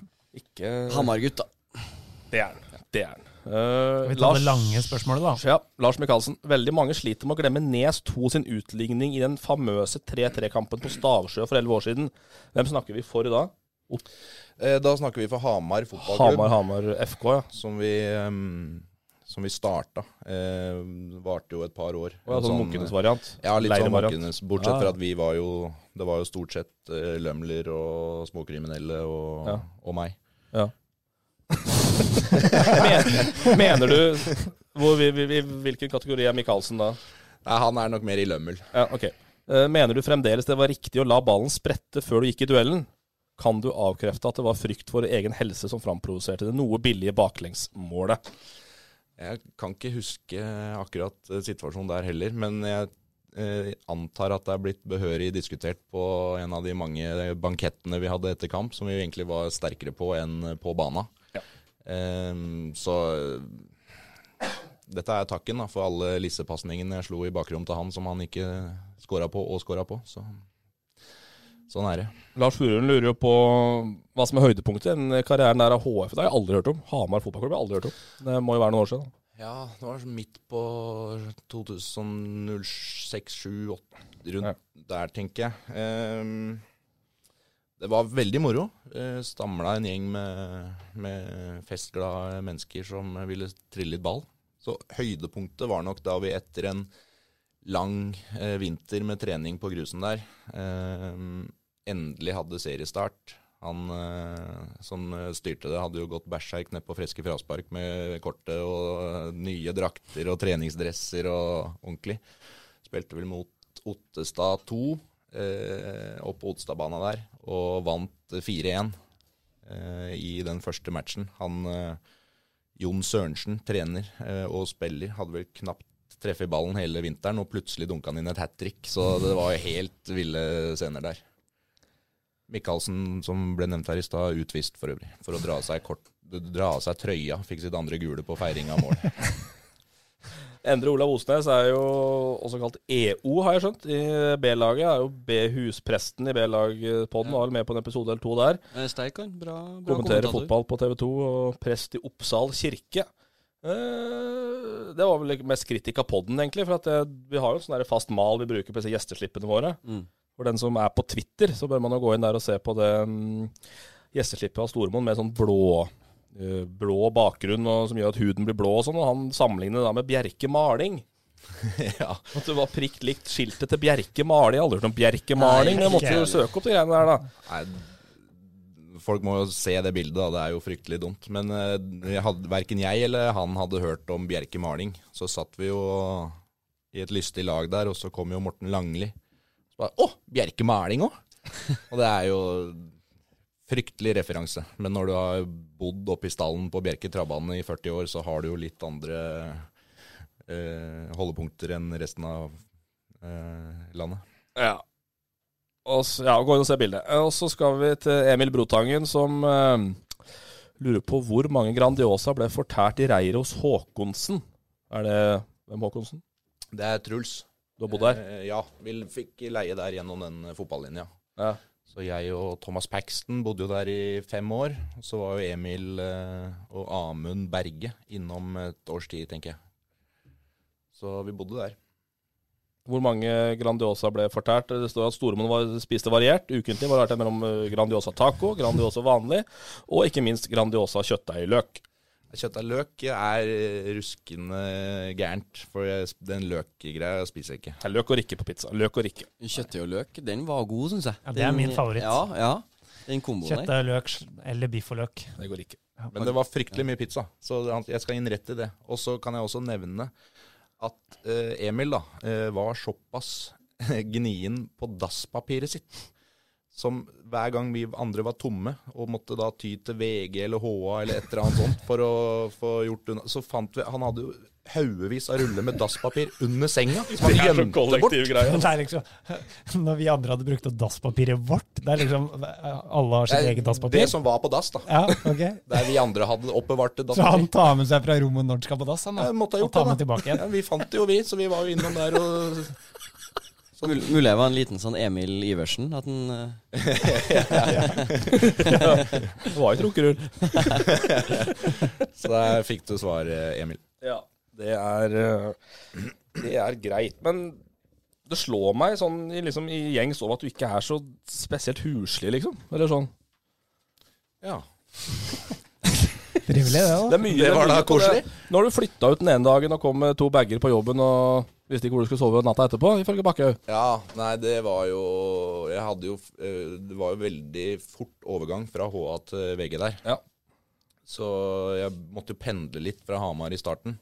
ikke Hamar-gutt, da. Det er den. Det er den. Eh, Vi tar Lars, det lange spørsmålet, da. ja, Lars Michaelsen. Veldig mange sliter med å glemme Nes 2 sin utligning i den famøse 3-3-kampen på Stavsjø for 11 år siden. Hvem snakker vi for da? Eh, Da snakker vi for Hamar fotballklubb. Hamar, Hamar FK, ja. Som vi, ehm, som vi starta. Eh, varte jo et par år. Å ja, En sånn Munkenes-variant. eh, Ja, litt sånn Leire-variant. Munkenes. Bortsett Ja. fra at vi var jo Det var jo stort sett eh, lømler og småkriminelle og, Ja. og meg. Ja. Men- Mener du hvor, vi, vi, vi, Hvilken kategori er Michaelsen da? Nei, Han er nok mer i lømmel. Ja, ok. Eh, Mener du fremdeles det var riktig å la ballen sprette før du gikk i duellen? Kan du avkrefte at det var frykt for egen helse som framprovoserte det noe billige baklengsmålet? Jeg kan ikke huske akkurat eh, situasjonen der heller, men jeg eh, antar at det er blitt behørig diskutert på en av de mange bankettene vi hadde etter kamp, som vi jo egentlig var sterkere på enn på bana. Ehm, så eh, dette er takken da, for alle lissepasningene jeg slo i bakrom til han som han ikke skåra på og skåra på. Så. Sånn er det. Lars Furuen lurer jo på hva som er høydepunktet i den karrieren der av HF. Det har jeg aldri hørt om. Hamar fotballklubb har jeg aldri hørt om. Det må jo være noen år siden. da. Ja, det var midt på 2006-2007, rundt der, tenker jeg. Ehm, det var veldig moro. Uh, Stamla en gjeng med, med festglade mennesker som ville trille litt ball. Så høydepunktet var nok da vi etter en lang eh, vinter med trening på grusen der, ehm, endelig hadde seriestart. Han eh, som eh, styrte det, hadde jo gått bæsjerk ned på Freske Fraspark med kortet og eh, nye drakter og treningsdresser og ordentlig. Spilte vel mot Ottestad 2 eh, opp på Ottestadbana der, og vant 4-1 eh, i den første matchen. Han eh, Jon Sørensen, trener eh, og spiller, hadde vel knapt treffet ballen hele vinteren, og plutselig dunka han inn et hat trick, så det var jo helt ville scener der. Michaelsen, som ble nevnt her i stad, utvist for øvrig. For å dra av seg, kort, dra av seg trøya. Fikk sitt andre gule på feiring av mål. Endre Olav Osnes er jo også kalt EO, har jeg skjønt, i B-laget. Er jo B-huspresten i B-lagpodden, var vel med på en episode eller to der. Eh, Sterk han. Bra, bra Kommenterer kommentator. fotball på TV 2 og prest i Oppsal kirke. Eh, Det var vel mest kritikk av podden, egentlig. For at det, vi har jo en sånn der fast mal vi bruker på disse gjesteslippene våre. Mm. For den som er på Twitter, så bør man jo gå inn der og se på det mm, gjesteslippet av Stormoen med sånn blå eh, blå bakgrunn og, som gjør at huden blir blå og sånn. Og han sammenligner det da med Bjerke Maling. ja. At det var prikt likt skiltet til Bjerke Maling. Jeg har Aldri hørt om Bjerke Maling. Nei, Jeg måtte jo ikke søke opp de greiene der, da. Nei, folk må jo se det bildet, da. Det er jo fryktelig dumt. Men eh, jeg hadde, verken jeg eller han hadde hørt om Bjerke Maling. Så satt vi jo i et lystig lag der, og så kom jo Morten Langli. Så bare Å, Bjerke Maling òg! Og det er jo fryktelig referanse. Men når du har bodd oppe i stallen på Bjerke Trabane i 40 år, så har du jo litt andre eh, holdepunkter enn resten av eh, landet. Ja. Og så, ja, gå inn og se bildet. Eh, Og så skal vi til Emil Brotangen, som eh, lurer på hvor mange Grandiosa ble fortært i reiret hos Håkonsen. Er det Hvem Håkonsen? Det er Truls. Du har bodd der? Eh, ja, vi fikk leie der gjennom den eh, fotballinja. Ja. Så jeg og Thomas Paxton bodde jo der i fem år. Og så var jo Emil eh, og Amund Berge innom et års tid, tenker jeg. Så vi bodde der. Hvor mange Grandiosa ble fortært? Det står at Stormoen var, spiste variert. Ukentlig var det mellom eh, Grandiosa taco, Grandiosa vanlig og ikke minst Grandiosa kjøttdeigløk. Kjøtt av løk er eh, ruskende gærent, for jeg, den løkgreia spiser jeg ikke. Nei, Løk og rikke på pizza. Løk og rikke. Kjøttdeig og løk, den var god, syns jeg. Ja, det er Den- min favoritt. Ja, ja. Den komboen der. Kjøttdeig og løk sl- eller biff og løk. Det går ikke. Men det var fryktelig mye pizza, så det- jeg skal innrette det. Og så kan jeg også nevne at eh, Emil da, eh, var såpass gnien på dasspapiret sitt, som hver gang vi andre var tomme, og måtte da ty til VG eller HA eller et eller annet sånt for å få gjort unna, så fant vi, han hadde jo haugevis av ruller med dasspapir under senga, som Det han er så gjemte bort. kollektiv greie. Det er liksom, når vi andre hadde brukt opp dasspapiret vårt Det er liksom Alle har sitt eget dasspapir. Det som var på dass da, Ja, ok. der vi andre hadde oppbevart det Så han dasspapir. tar med seg fra rommet når han skal på dass? Han, da. Jeg måtte ha Og gjort tar det, med da. tilbake igjen. Ja, vi fant det jo vi, så vi var jo innom der og Mul mulig jeg var en liten sånn Emil Iversen. At den, eh, Det var ikke runkerull. Så der fikk du svar, eh, Emil. Ja, det er eh, Det er greit. Men det slår meg sånn i, liksom, i gjengs over at du ikke er så spesielt huslig, liksom. Eller sånn. Ja. Trivelig, det òg. Det, er mye, Det var er mye på da det. koselig. Nå har du flytta ut den ene dagen og kom med to bager på jobben og visste ikke hvor du skulle sove natta etterpå, ifølge Bakkhaug. Ja, nei, det var jo Jeg hadde jo eh, Det var jo veldig fort overgang fra HA til VG der. Ja. Så jeg måtte jo pendle litt fra Hamar i starten.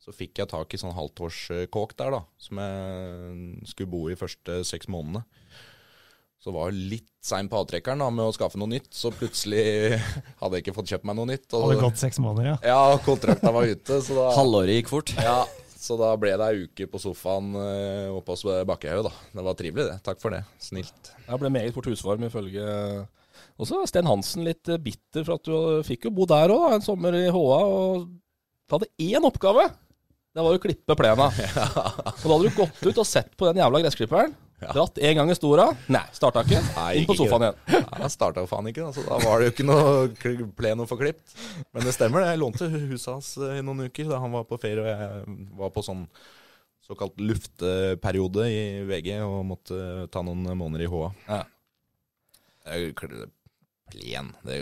Så fikk jeg tak i sånn halvtårskåk der, da, som jeg skulle bo i første seks månedene. Så var jeg litt sein på avtrekkeren da, med å skaffe noe nytt, så plutselig hadde jeg ikke fått kjøpt meg noe nytt. og- Hadde gått seks måneder, ja. Ja, kontrakta var ute, så da Halvåret gikk fort. ja, så da ble det ei uke på sofaen eh, oppe hos Bakkehaug, da. Det var trivelig, det. Takk for det. Snilt. Jeg ble meget fort husvarm, ifølge eh, også Sten Hansen. Litt eh, bitter for at du fikk jo bo der òg, en sommer i HA. Og du hadde én oppgave. Det var å klippe plena. Og da hadde du gått ut og sett på den jævla gressklipperen. Dratt én gang i stora. Nei, starta ikke. Nei, Inn på gikk ikke. sofaen igjen. Ja, starta jo faen ikke, da, så da var det jo ikke noe kl- pleno for klipt. Men det stemmer, det. Jeg lånte huset hans eh, i noen uker da han var på ferie, og jeg var på sånn såkalt lufteperiode i VG og måtte ta noen måneder i HA. Ja. Det er jo kl- Plen, det,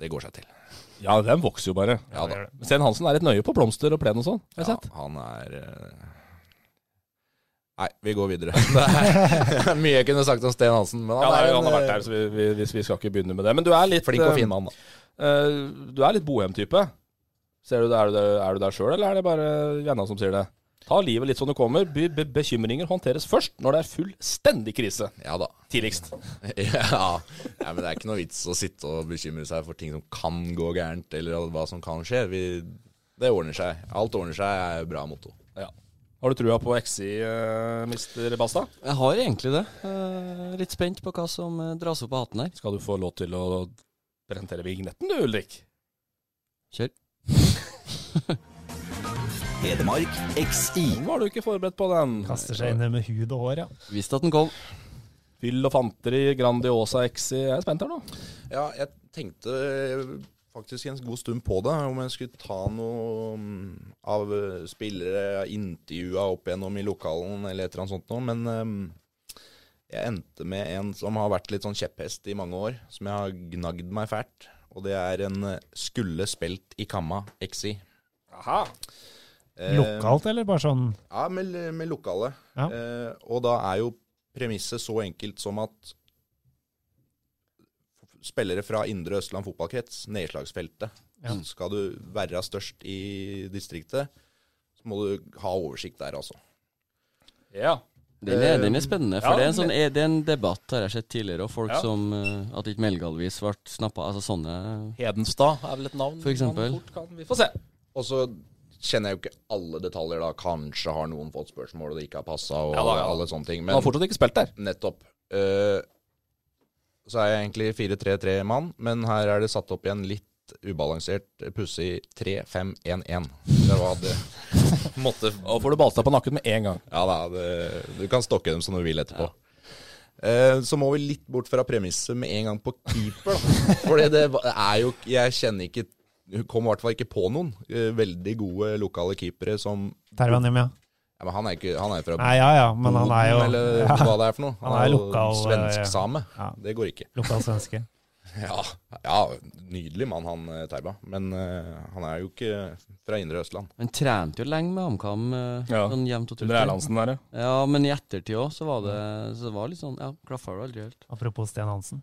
det går seg til. Ja, den vokser jo bare. Ja da. Sten Hansen er litt nøye på blomster og plen og sånn, har jeg Ja, sett. han er eh, Nei, vi går videre. Det er mye jeg kunne sagt om Sten Hansen, men han, Ja, nei, er en, han har vært eh, der, så vi, vi, vi, vi skal ikke begynne med det. Men du er litt flink og eh, fin mann. da. eh, du er litt bohem-type. Ser du det, Er du der, er du der sjøl, eller er det bare vennene som sier det? Ta livet litt som det kommer. Be be bekymringer håndteres først når det er fullstendig krise. Ja da. Tidligst. ja. Nei, men det er ikke noe vits å sitte og bekymre seg for ting som kan gå gærent, eller hva som kan skje. Vi, det ordner seg. Alt ordner seg er bra motto. Ja. Har du trua på XI, eh, mister Basta? Jeg har egentlig det. Eh, Litt spent på hva som eh, dras opp av hatten her. Skal du få lov til å presentere vignetten, du, Ulrik? Kjør. Hedmark XI. Var du ikke forberedt på den? Kaster seg inn der med hud og hår, ja. Visste at den kom. Fyll og fanteri, Grandiosa XI. Jeg er spent her nå. Ja, jeg tenkte eh, faktisk en god stund på det, om jeg skulle ta noe mm, av eh, spillere intervjua opp igjennom i lokalen eller et eller annet sånt noe, men eh, jeg endte med en som har vært litt sånn kjepphest i mange år, som jeg har gnagd meg fælt, og det er en eh, skulle spilt i kamma, XI. Aha. Eh, Lokalt, eller bare sånn Ja, med, med lokale. Ja. Eh, og da er jo premisset så enkelt som at spillere fra Indre Østland fotballkrets, nedslagsfeltet, Ja. skal du være størst i distriktet, så må du ha oversikt der, altså. Ja. Den er, den er spennende, Ja, for det, er en den sånn, det er en debatt har jeg sett tidligere, og folk Ja. som eh, At ikke Melgalvis ble snappa, altså sånne Hedenstad er vel et navn For eksempel. man fort kan Vi får se. Og så kjenner jeg jo ikke alle detaljer, da. Kanskje har noen fått spørsmål og det ikke har passa, og Ja da, ja da. alle sånne ting. Han har Men fortsatt ikke spilt der. nettopp. Eh, så er jeg egentlig 4-3-3-mann, men her er det satt opp i en litt ubalansert, pussig 3-5-1-1. Det var det. Måtte Og får du Balstad på nakken med en gang. Ja da, det, du kan stokke dem som du vil etterpå. Eh, Så må vi litt bort fra premisset med en gang på keeper. da. Fordi det va- er jo Jeg kjenner ikke Hun kom i hvert fall ikke på noen eh, veldig gode lokale keepere som Tervanim, ja. ja, men Han er ikke, han er jo fra Nei, ja ja, men han er jo Boden, eller hva det er for noe. Han er lokal, eh, Svensk-same. ja. Det går ikke. lokal svenske. Ja, ja nydelig mann han eh, Terba. Men eh, han er jo ikke fra indre Østland. Han trente jo lenge med HamKam, eh, Ja. sånn jevnt og Under trutt. Erlandsen der, ja. Ja, men i ettertid òg, så var det Så det var litt sånn Ja, klaffa det aldri helt. Apropos Sten Hansen.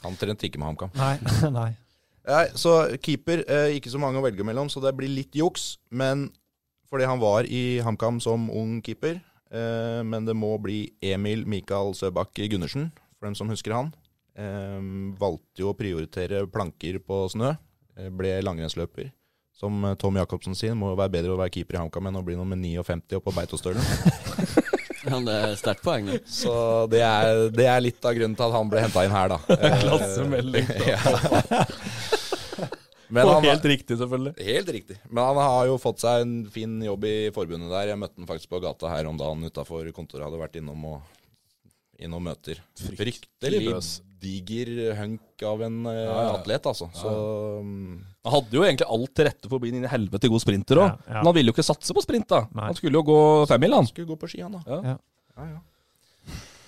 Han trente ikke med HamKam. Nei, nei. Nei, så keeper, eh, ikke så mange å velge mellom, så det blir litt juks. Men fordi han var i HamKam som ung keeper. Eh, men det må bli Emil Mikael Søbakk Gundersen, for dem som husker han. Eh, valgte jo å prioritere planker på snø. Eh, ble langrennsløper. Som eh, Tom Jacobsen sier, må jo være bedre å være keeper i HamKam enn å bli nummer 59 oppå Beitostølen. Ja, det er sterkt poeng, det. Så det er, det er litt av grunnen til at han ble henta inn her, da. Eh, Klassemelding. ja. Men Og han, helt riktig, selvfølgelig. Helt riktig. Men han har jo fått seg en fin jobb i forbundet der. Jeg møtte han faktisk på gata her om dagen utafor kontoret. Hadde vært innom og innom møter. Fryktelig bøs. diger hunk av en eh, ja. atlet, altså. Så mm, Han hadde jo egentlig alt til rette for å bli en helvete god sprinter òg. Ja, ja. Men han ville jo ikke satse på sprint, da. Nei. Han skulle jo gå femmil, han. skulle gå på ski, han da. Ja. Ja. Ja, ja.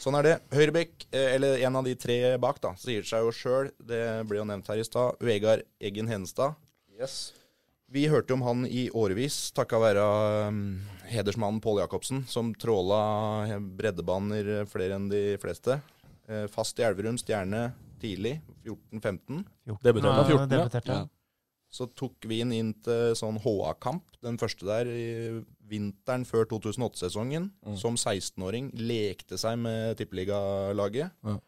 Sånn er det. Høyrebekk, eh, eller en av de tre bak, da, sier seg jo sjøl. Det ble jo nevnt her i stad. Vegard Eggen Henestad. Yes. Vi hørte om han i årevis takka være um, hedersmannen Pål Jacobsen, som tråla breddebaner flere enn de fleste. Eh, Fast i Elverum, Stjerne tidlig, 14-15. Debuterte han 14., ja. Debuterte. Ja. Så tok vi han inn til sånn HA-kamp, den første der, i vinteren før 2008-sesongen. Som 16-åring lekte seg med tippeligalaget. Ja.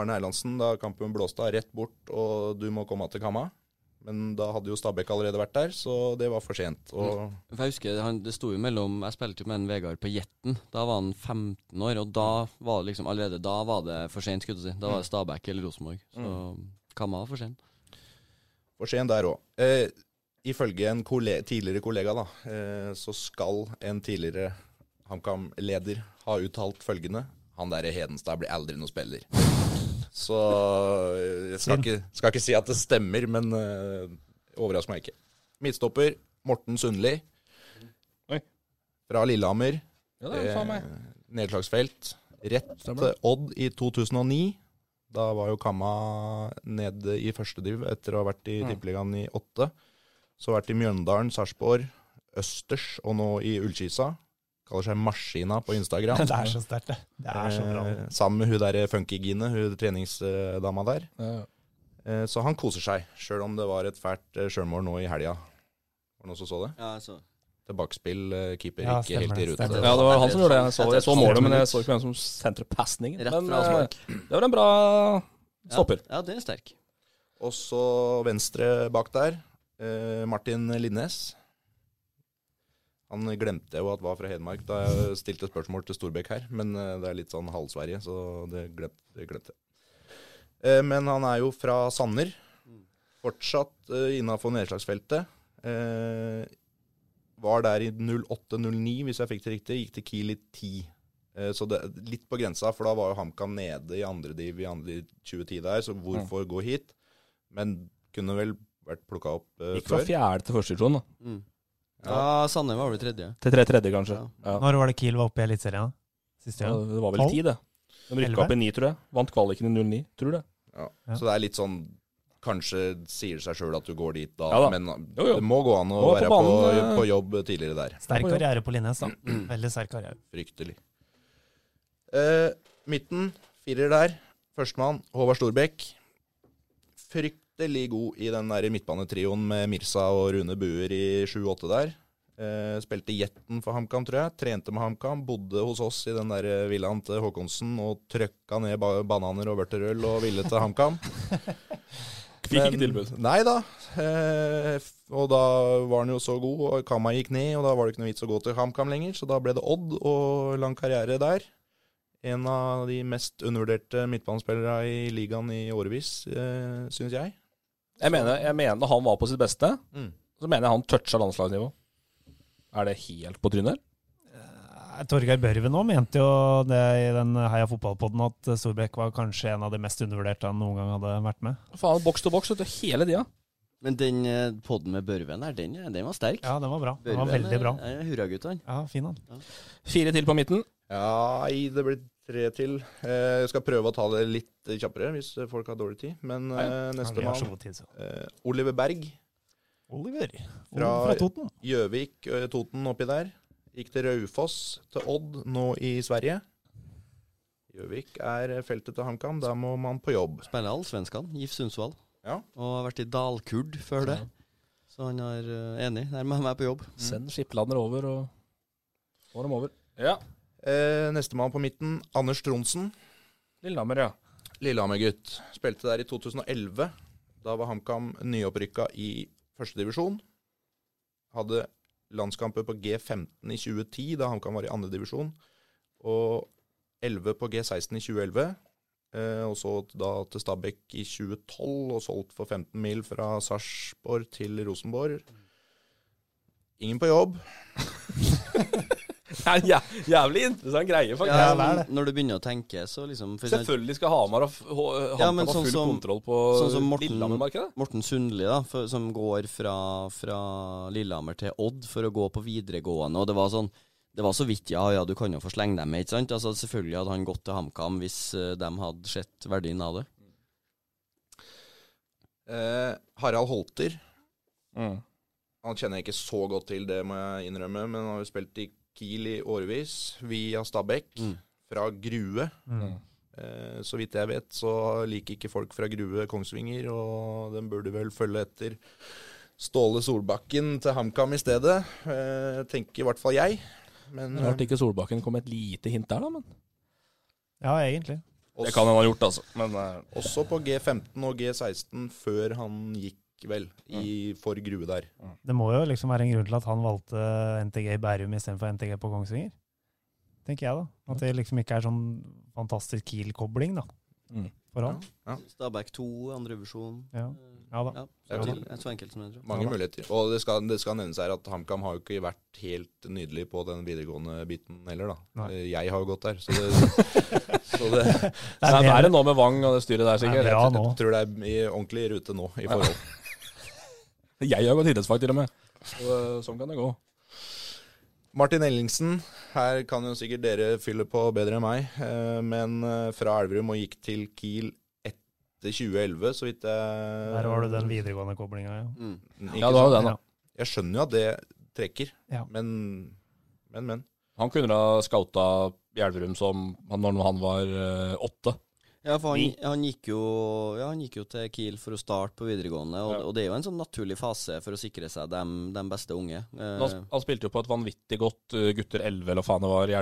Arne Erlandsen, da kampen blåste av, rett bort, og du må komme til Kamma. Men da hadde jo Stabæk allerede vært der, så det var for sent. Og For jeg husker han, det sto jo mellom Jeg spilte jo med en Vegard på Jetten. Da var han 15 år, og da var det liksom allerede da var det for sent, skulle du si. Da var det Stabæk eller Rosenborg. Så Kamma var for sent. for sent der òg. Eh, ifølge en kolle tidligere kollega, da, eh, så skal en tidligere HamKam-leder ha uttalt følgende Han derre Hedenstad blir aldri noen spiller. Så eh, jeg skal ikke, skal ikke si at det stemmer, men eh, overrasker meg ikke. Midtstopper Morten Sundli Oi. fra Lillehammer. Ja, det er faen meg. Eh, Nedslagsfelt. Rett til Odd i 2009. Da var jo Kamma nede i førstediv etter å ha vært i Mm. Tippeligaen i åtte. Så har vært i Mjøndalen, Sarpsborg, østers og nå i Ullkisa. Kaller seg Maskina på Instagram. Det er så sterkt, det. Det er så bra. Eh, sammen med hun der funkygine, hun treningsdama der. Ja. Eh, Så han koser seg, sjøl om det var et fælt eh, sjølmål nå i helga. Var det noen som så det? Ja, altså, så. Tilbakespill, eh, keeper Ja, ikke helt i stemmer det, rute. stemmer Ja, det var han som gjorde det. Jeg så, jeg så målet, men jeg så ikke hvem som sentrer pasningen. Rett Men fra eh, avspark. det var en bra stopper. Ja, den er sterk. Og så venstre bak der, eh, Martin Linnes. Han glemte jeg jo at var fra Hedmark da jeg stilte spørsmål til Storbekk her, men eh, det er litt sånn halvsverige, så det glemte, det glemte jeg. Eh, Men han er jo fra Sanner. Fortsatt innafor nedslagsfeltet. Eh, Var der i 08-09, hvis jeg fikk det riktig. Gikk til Kiel i 10. Eh, Så det, er litt på grensa, for da var jo HamKam nede i andre div i andre i 2010 der, så hvorfor gå hit? Men kunne vel vært plukka opp eh, Gikk fra før. fjerde til første divisjon, da. Mm. Ja, Sanne var vel tredje. Til tre tredje, kanskje. Ja. Når var det Kiel var oppe i Eliteserien? da? Siste Ja, gang? det var vel Tolv? ti, det. De Elleve? rykka opp i ni, tror jeg. Vant kvaliken i 09, tror du det? Ja. Ja. Så det er litt sånn Kanskje sier det seg sjøl at du går dit da, Ja da. men Jo, jo. det må gå an å Må være på på, banen, eh. på jobb tidligere der. Sterk karriere på Linnes, da. Veldig sterk karriere. Fryktelig. Eh, midten, firer der. Førstemann, Håvard Storbekk. Fryktelig god i den der midtbanetrioen med Mirsa og Rune Buer i 7-8 der. Eh, spilte jetten for HamKam, tror jeg. Trente med HamKam. Bodde hos oss i den der villaen til Håkonsen og trøkka ned ba bananer og vørterøl og ville til HamKam. Fikk ikke tilbud. Nei da. Eh, f- og da var han jo så god, og Kamma gikk ned, og da var det ikke noe vits å gå til HamKam lenger, så da ble det Odd og lang karriere der. En av de mest undervurderte midtbanespillere i ligaen i årevis, eh, syns jeg. Jeg mener, jeg mener når han var på sitt beste, Mm. så mener jeg han toucha landslagsnivå. Er det helt på trynet? Eh, Torgeir Børven òg mente jo det i den Heia fotballpodden at Storbekk var kanskje en av de mest undervurderte han noen gang hadde vært med. Faen, boks til boks vet du, hele tida. Men den eh, podden med Børven der, den, eh, den var sterk. Ja, den var bra. Den var Børven, veldig eh, bra. er Hurraguttene. Ja, fin han. Fire til på midten. Ja, nei, det blir tre til. Eh, jeg skal prøve å ta det litt kjappere, hvis folk har dårlig tid. Men eh, neste Vi har så mann, god tid, så. eh, Oliver Berg. Oliver Fra- fra Toten. Gjøvik, eh, Toten oppi der. Gikk til Raufoss, til Odd, nå i Sverige. Gjøvik er feltet til HamKam, da må man på jobb. Spiller allsvenskan, GIF Sundsvall. Ja. Og har vært i Dalkurd før det. Så han er eh, enig. Der må han være på jobb. Send Skipladner over, og får dem over. Ja. Eh, Nestemann på midten, Anders Tronsen. Lillehammer, ja. Lillehammer-gutt. Spilte der i 2011. Da var HamKam nyopprykka i førstedivisjon. Hadde landskamper på G15 i 2010, da HamKam var i andredivisjon. Og 11 på G16 i 2011. Eh, og så da til Stabæk i 2012, og solgt for 15 mil fra Sarpsborg til Rosenborg. Ingen på jobb. Det er en jæ- jævlig interessant greie, faktisk. Ja, det er men når du begynner å tenke, så liksom for eksempel- Selvfølgelig skal Hamar ha, f- ha, Ja, ha men sånn full som- kontroll på sånn som Morten- Lillehammer-markedet. Morten Sundli, da, for, som går fra, fra Lillehammer til Odd for å gå på videregående, og det var sånn Det var så vidt, ja ja, du kan jo få slenge dem med, ikke sant? Altså, selvfølgelig hadde han gått til HamKam hvis eh, de hadde sett verdien av det. Eh, Harald Holter. Mm. Han kjenner jeg ikke så godt til, det må jeg innrømme, men han har jo spilt i Kiel i årevis, via Stabæk, fra Grue. Mm. Eh, så vidt jeg vet, så liker ikke folk fra Grue Kongsvinger, og den burde vel følge etter Ståle Solbakken til HamKam i stedet, eh, tenker i hvert fall jeg. Men, Rart ikke Solbakken kom med et lite hint der, da. men Ja, egentlig. Det kan han ha gjort, altså. Men eh, Også på G15 og G16 før han gikk vel i, Mm. for grue der. Det må jo liksom være en grunn til at han valgte NTG i Bærum istedenfor NTG på Kongsvinger. Tenker jeg, da. At det liksom ikke er sånn fantastisk Kiel-kobling, da. Mm. For han. Stabæk 2, andrevisjon. Ja. Ja da. Ja, Ja da. til, det er så enkelt som det. tror jeg. Mange muligheter. Og det skal, det skal nevnes her at HamKam har jo ikke vært helt nydelig på den videregående biten heller, da. Nei. Eh, Jeg har jo gått der, så det, så det Det er Nei, det er bedre. det nå med Wang og det styret der, Det er sikkert. bra nå. tror det er i ordentlig rute nå i forhold. Jeg har gått idrettsfag, til og med. Så, eh, sånn kan det gå. Martin Ellingsen, her kan jo sikkert dere fylle på bedre enn meg, eh, men eh, fra Elverum og gikk til Kiel etter 2011, så vidt jeg Der var det den videregående koblinga, ja. Mm. Ikke Ja, det var jo sant? den, da. Jeg skjønner jo at det trekker, Ja. men, men, men. Han kunne ha scouta Elverum som han, når han var eh, åtte. Ja, for han, han, gikk jo, ja, han gikk jo til Kiel for å starte på videregående, og, og det er jo en sånn naturlig fase for å sikre seg de, beste unge. Men Han, Eh, han spilte jo på et vanvittig godt eh, gutter 11, eller hva faen det var, i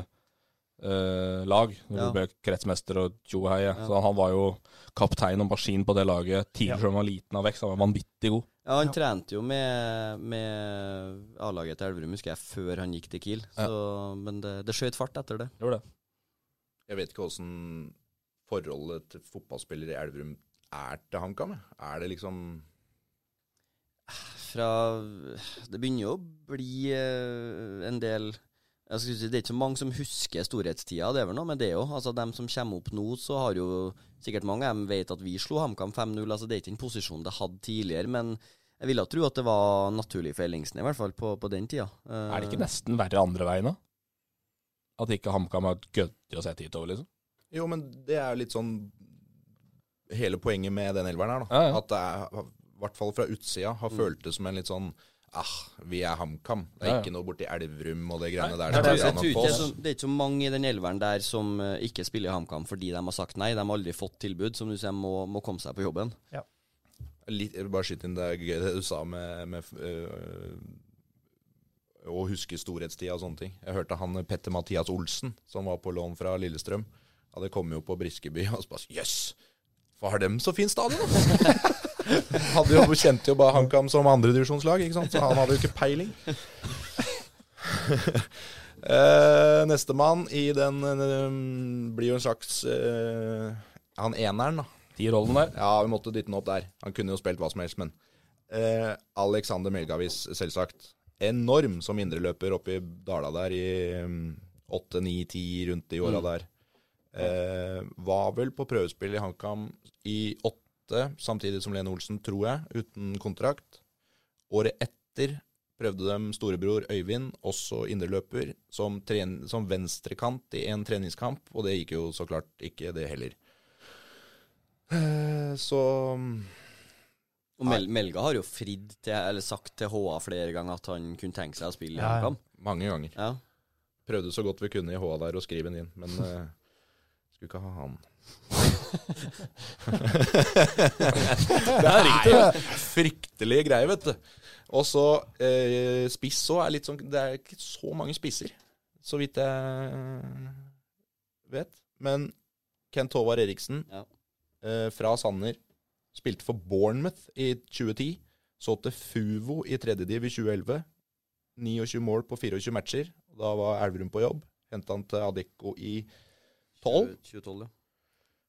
Elverum-lag. Når Ja. du ble kretsmester og tjo og hei. Ja. Så han var jo kaptein og maskin på det laget Ja. tidlig fra han var liten av vekst. Han var vanvittig god. ja, han trente jo med, med A-laget til Elverum, husker jeg, før han gikk til Kiel. Ja. Så, men det, det skjøt fart etter det. Gjorde det. Jeg vet ikke åssen forholdet til fotballspillere i Elverum er til HamKam. jeg. Er det liksom Fra Det begynner jo å bli eh, en del jeg skulle si, Det er ikke så mange som husker storhetstida, det er vel noe med det òg. Altså, dem som kommer opp nå, så har jo sikkert mange av dem vet at vi slo HamKam 5-0. Altså, det er ikke den posisjonen det hadde tidligere, men jeg ville tro at det var naturlig for Ellingsen, i hvert fall på, på den tida. Eh, Er det ikke nesten verre andre veien, da? At ikke HamKam er gøddig å sette hit over, liksom? Jo, men det er jo litt sånn hele poenget med den elveren her, da. Ja, ja. At det er, i hvert fall fra utsida, har føltes som en litt sånn Ah, vi er HamKam. Det er Ja, ja. ikke noe borti Elverum og det greiene Nei, der. det er som Jeg tror- jeg er tror ikke på det er oss. så- det er ikke så mange i den elveren der som eh, ikke spiller i HamKam fordi de har sagt nei. De har aldri fått tilbud, som du sier, må, må komme seg på jobben. Litt, jeg vil bare skyte inn det er gøy det du sa med, med øh, å huske storhetstida og sånne ting. Jeg hørte han Petter Mathias Olsen, som var på lån fra Lillestrøm. Ja, det kom jo på Briskeby, og så bare så, Jøss! Hva har dem så fin stadion, da? hadde jo, kjente jo bare HamKam som andredivisjonslag, ikke sant? så han hadde jo ikke peiling. Eh, Nestemann i den eh, blir jo en slags eh, Han eneren, da. De rollene der. Ja, vi måtte dytte den opp der. Han kunne jo spilt hva som helst, men eh, Alexander Melgavis, selvsagt. Enorm som indreløper oppi Dala der i mm, åtte, ni, ti rundt de Mm. åra der. Eh, var vel på prøvespill i HamKam i åtte, samtidig som Lene Olsen, tror jeg, uten kontrakt. Året etter prøvde dem storebror Øyvind, også indreløper, som, tren- som venstrekant i en treningskamp, og det gikk jo så klart ikke, det heller. Eh, Så mm, Og Mel Melga har jo fridd til, eller sagt til HA flere ganger at han kunne tenke seg å spille i Ja, ja. HamKam. mange ganger. Ja. Prøvde så godt vi kunne i HA der å skrive den inn, men eh, skulle ikke ha han. det er jo fryktelige greier, vet du. Og så eh, spiss òg er litt sånn Det er ikke så mange spisser, så vidt jeg vet. Men Kent Håvard Eriksen Ja. eh, fra Sanner spilte for Bournemouth i 2010. Så til Fuvo i tredje div i 2011. 29 mål på 24 matcher. Da var Elverum på jobb. Henta han til Adecco i 12. 2012, ja.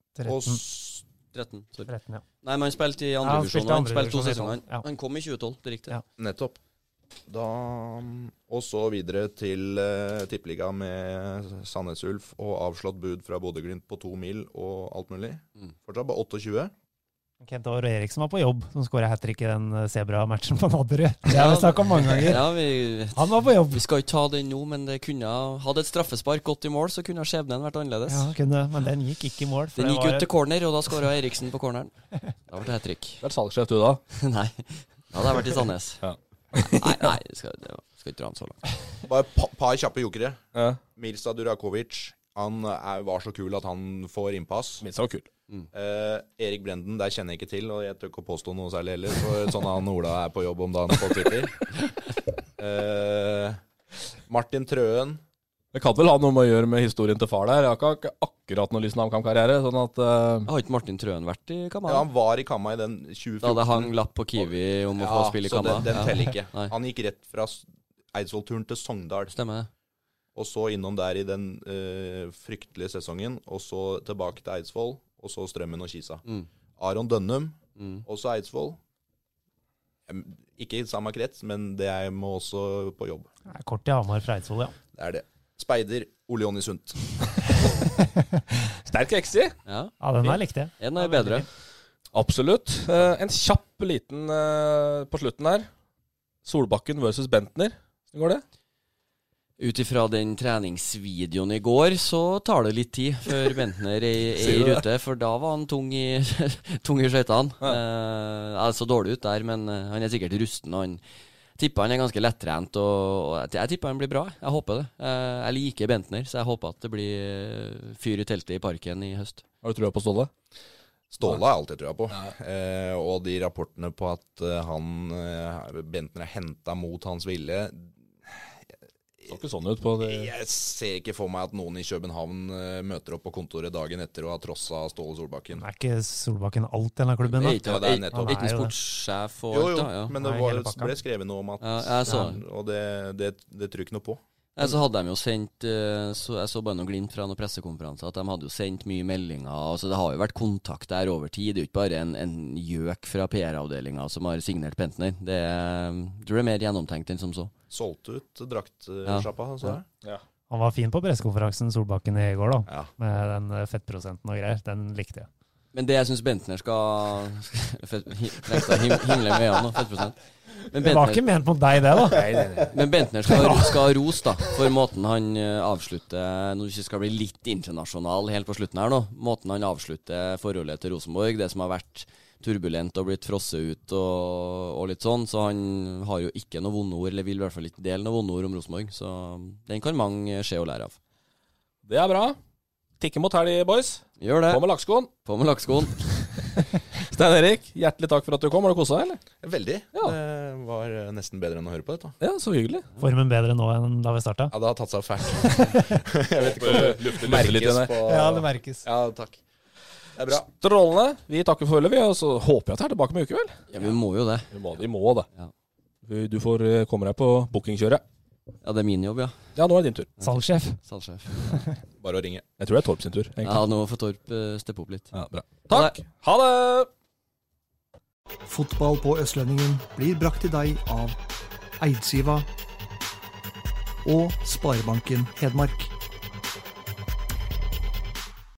Og 13, s- 13. Sorry. 13 ja. Nei, men han spilte i Ja, han andrevisjon, spilte og han spilte to andredivisjon i sesonger. tolv, ja. Han kom i 2012, det er riktig. Ja. nettopp. Da Og så videre til uh, tippeliga med Sandnes Ulf og avslått bud fra Bodø-Glimt på to mil og alt mulig. Mm. Fortsatt bare 28. Kent Aar og Eriksen var på jobb, som skåra hat trick i den eh, Zebra-matchen på Nadderud. Det har vi snakka om mange ganger. Ja, vi, Han var på jobb. Vi skal ikke ta den nå, men det kunne Hadde et straffespark gått i mål, så kunne skjebnen vært annerledes. Ja, kunne, men den gikk ikke i mål. for Den det gikk var ut et- til corner, og da skåra Eriksen på corneren. Da ble det hat trick. Vært salgssjef du, da? Nei. Da hadde jeg vært i Sandnes. Ja. Nei, nei, skal, det var- skal ikke dra den så langt. Bare et pa- par kjappe jokere. Ja. Mirza Durakovic. Han er, var så kul at han får innpass. Minst var kul. Eh, Erik Brenden, der kjenner jeg ikke til, og jeg tør ikke å påstå noe særlig heller, for sånn han Ola er på jobb om dagen på Twitter. Eh, Martin Trøen. Det kan vel ha noe med å gjøre med historien til far der. Jeg har ikke ak- akkurat noe lysen HamKam-karriere. Sånn at eh, Har ikke Martin Trøen vært i Kamma? Ja, han var i Kamma i den 2014. da det hang lapp på Kiwi om å ja, få spille i så Kamma? den, den Ja. teller ikke. Nei. Han gikk rett fra S- Eidsvollturen til Sogndal, Stemmer det. og så innom der i den eh, fryktelige sesongen, og så tilbake til Eidsvoll, og så Strømmen og Kisa. Mm. Aron Dønnum, Mm. også Eidsvoll. Em, Ikke i samme krets, men det er- må også på jobb. Nei, Kort i Hamar fra Eidsvoll, ja. Det er det. Speider Ole Jonny Sundt. Sterk ekse. Ja, ja den her likte jeg. en er bedre. Absolutt. Eh, en kjapp liten eh, på slutten her. Solbakken versus Bentner. Hvordan går det? Ut ifra den treningsvideoen i går, så tar det litt tid før Bentner er, er Sier i du det? rute. For da var han tung i, tung i skøytene. Eh, han så dårlig ut der, men eh, han er sikkert rusten. Og han tipper han er ganske lettrent. Og, og jeg- jeg tipper han blir bra. Jeg håper det. Eh, jeg liker Bentner, så jeg håper at det blir eh, fyr i teltet i parken i høst. Har du trua på Ståle? Ståle har jeg alltid trua på. Eh, og de rapportene på at eh, han eh, Bentner er henta mot hans vilje eh, Så ikke sånn ut på det. Jeg ser ikke for meg at noen i København eh, møter opp på kontoret dagen etter og har trossa Ståle Solbakken. Men Er ikke Solbakken alt i denne klubben, Er da? ikke Ja, det er nettopp. er ikke Han er jo det. sportssjef og Jo, jo, alt, da? Ja. men det Nei, var, hele pakka. ble skrevet noe om at Ja, jeg så den. Og det, det, det tror jeg ikke noe på. Nei, så hadde de jo sendt eh, så Jeg så bare noe glimt fra noen pressekonferanser at de hadde jo sendt mye meldinger. Altså Det har jo vært kontakt der over tid. Det er jo ikke bare en, en gjøk fra PR-avdelinga som har signert Bentner. Det er, jeg tror det er mer gjennomtenkt enn som så. Solgt ut Ja. draktsjappa, så Ja. jeg. Han var fin på pressekonferansen Solbakken i går, da. Ja. Med den eh, fettprosenten og greier. Den likte jeg. Men det jeg syns Bentner skal Fett- hi- nekta å him, himle med øynene nå, 50 Men Det var ikke eh, Bentner, ment mot deg, det, da. men Bentner skal, skal ha ros da for måten han eh, avslutter Når vi ikke skal bli litt internasjonal helt på slutten her nå. Måten han avslutter forholdet til Rosenborg, det som har vært turbulent og blitt frosset ut og, og litt sånn. Så han har jo ikke noe vonde ord, eller vil i hvert fall ikke dele noe vonde ord om Rosenborg. Så den kan mange eh, se og lære av. Det er bra. Tikke mot helg, boys. Gjør det. På med lakkskoen. På med lakkskoen. Eh. Stein Erik, hjertelig takk for at du kom. Har du kosa deg, eller? Veldig. Ja. Det var eh, nesten bedre enn å høre på dette. Ja, så hyggelig. Formen bedre nå enn da vi starta. Ja, det har tatt seg fælt. jeg vet ikke om det lufte litt i merkes den på merkes. Ja, takk. Det er bra. Strålende. Vi takker for følget, vi. Og så håper jeg at jeg er tilbake om en uke, vel. Ja, vi må jo det. Vi må, vi må det. Ja. Vi- Du får eh, komme deg på bookingkjøret. Ja, det er min jobb, ja. Ja, nå er det din tur. Salgssjef. Salgssjef. Bare å ringe. Jeg tror det er Torp sin tur. egentlig. Ja, nå får Torp eh, steppe opp litt. Ja, bra. Takk. Ha det! Fotball på Østlendingen blir brakt til deg av Eidsiva og Sparebanken Hedmark.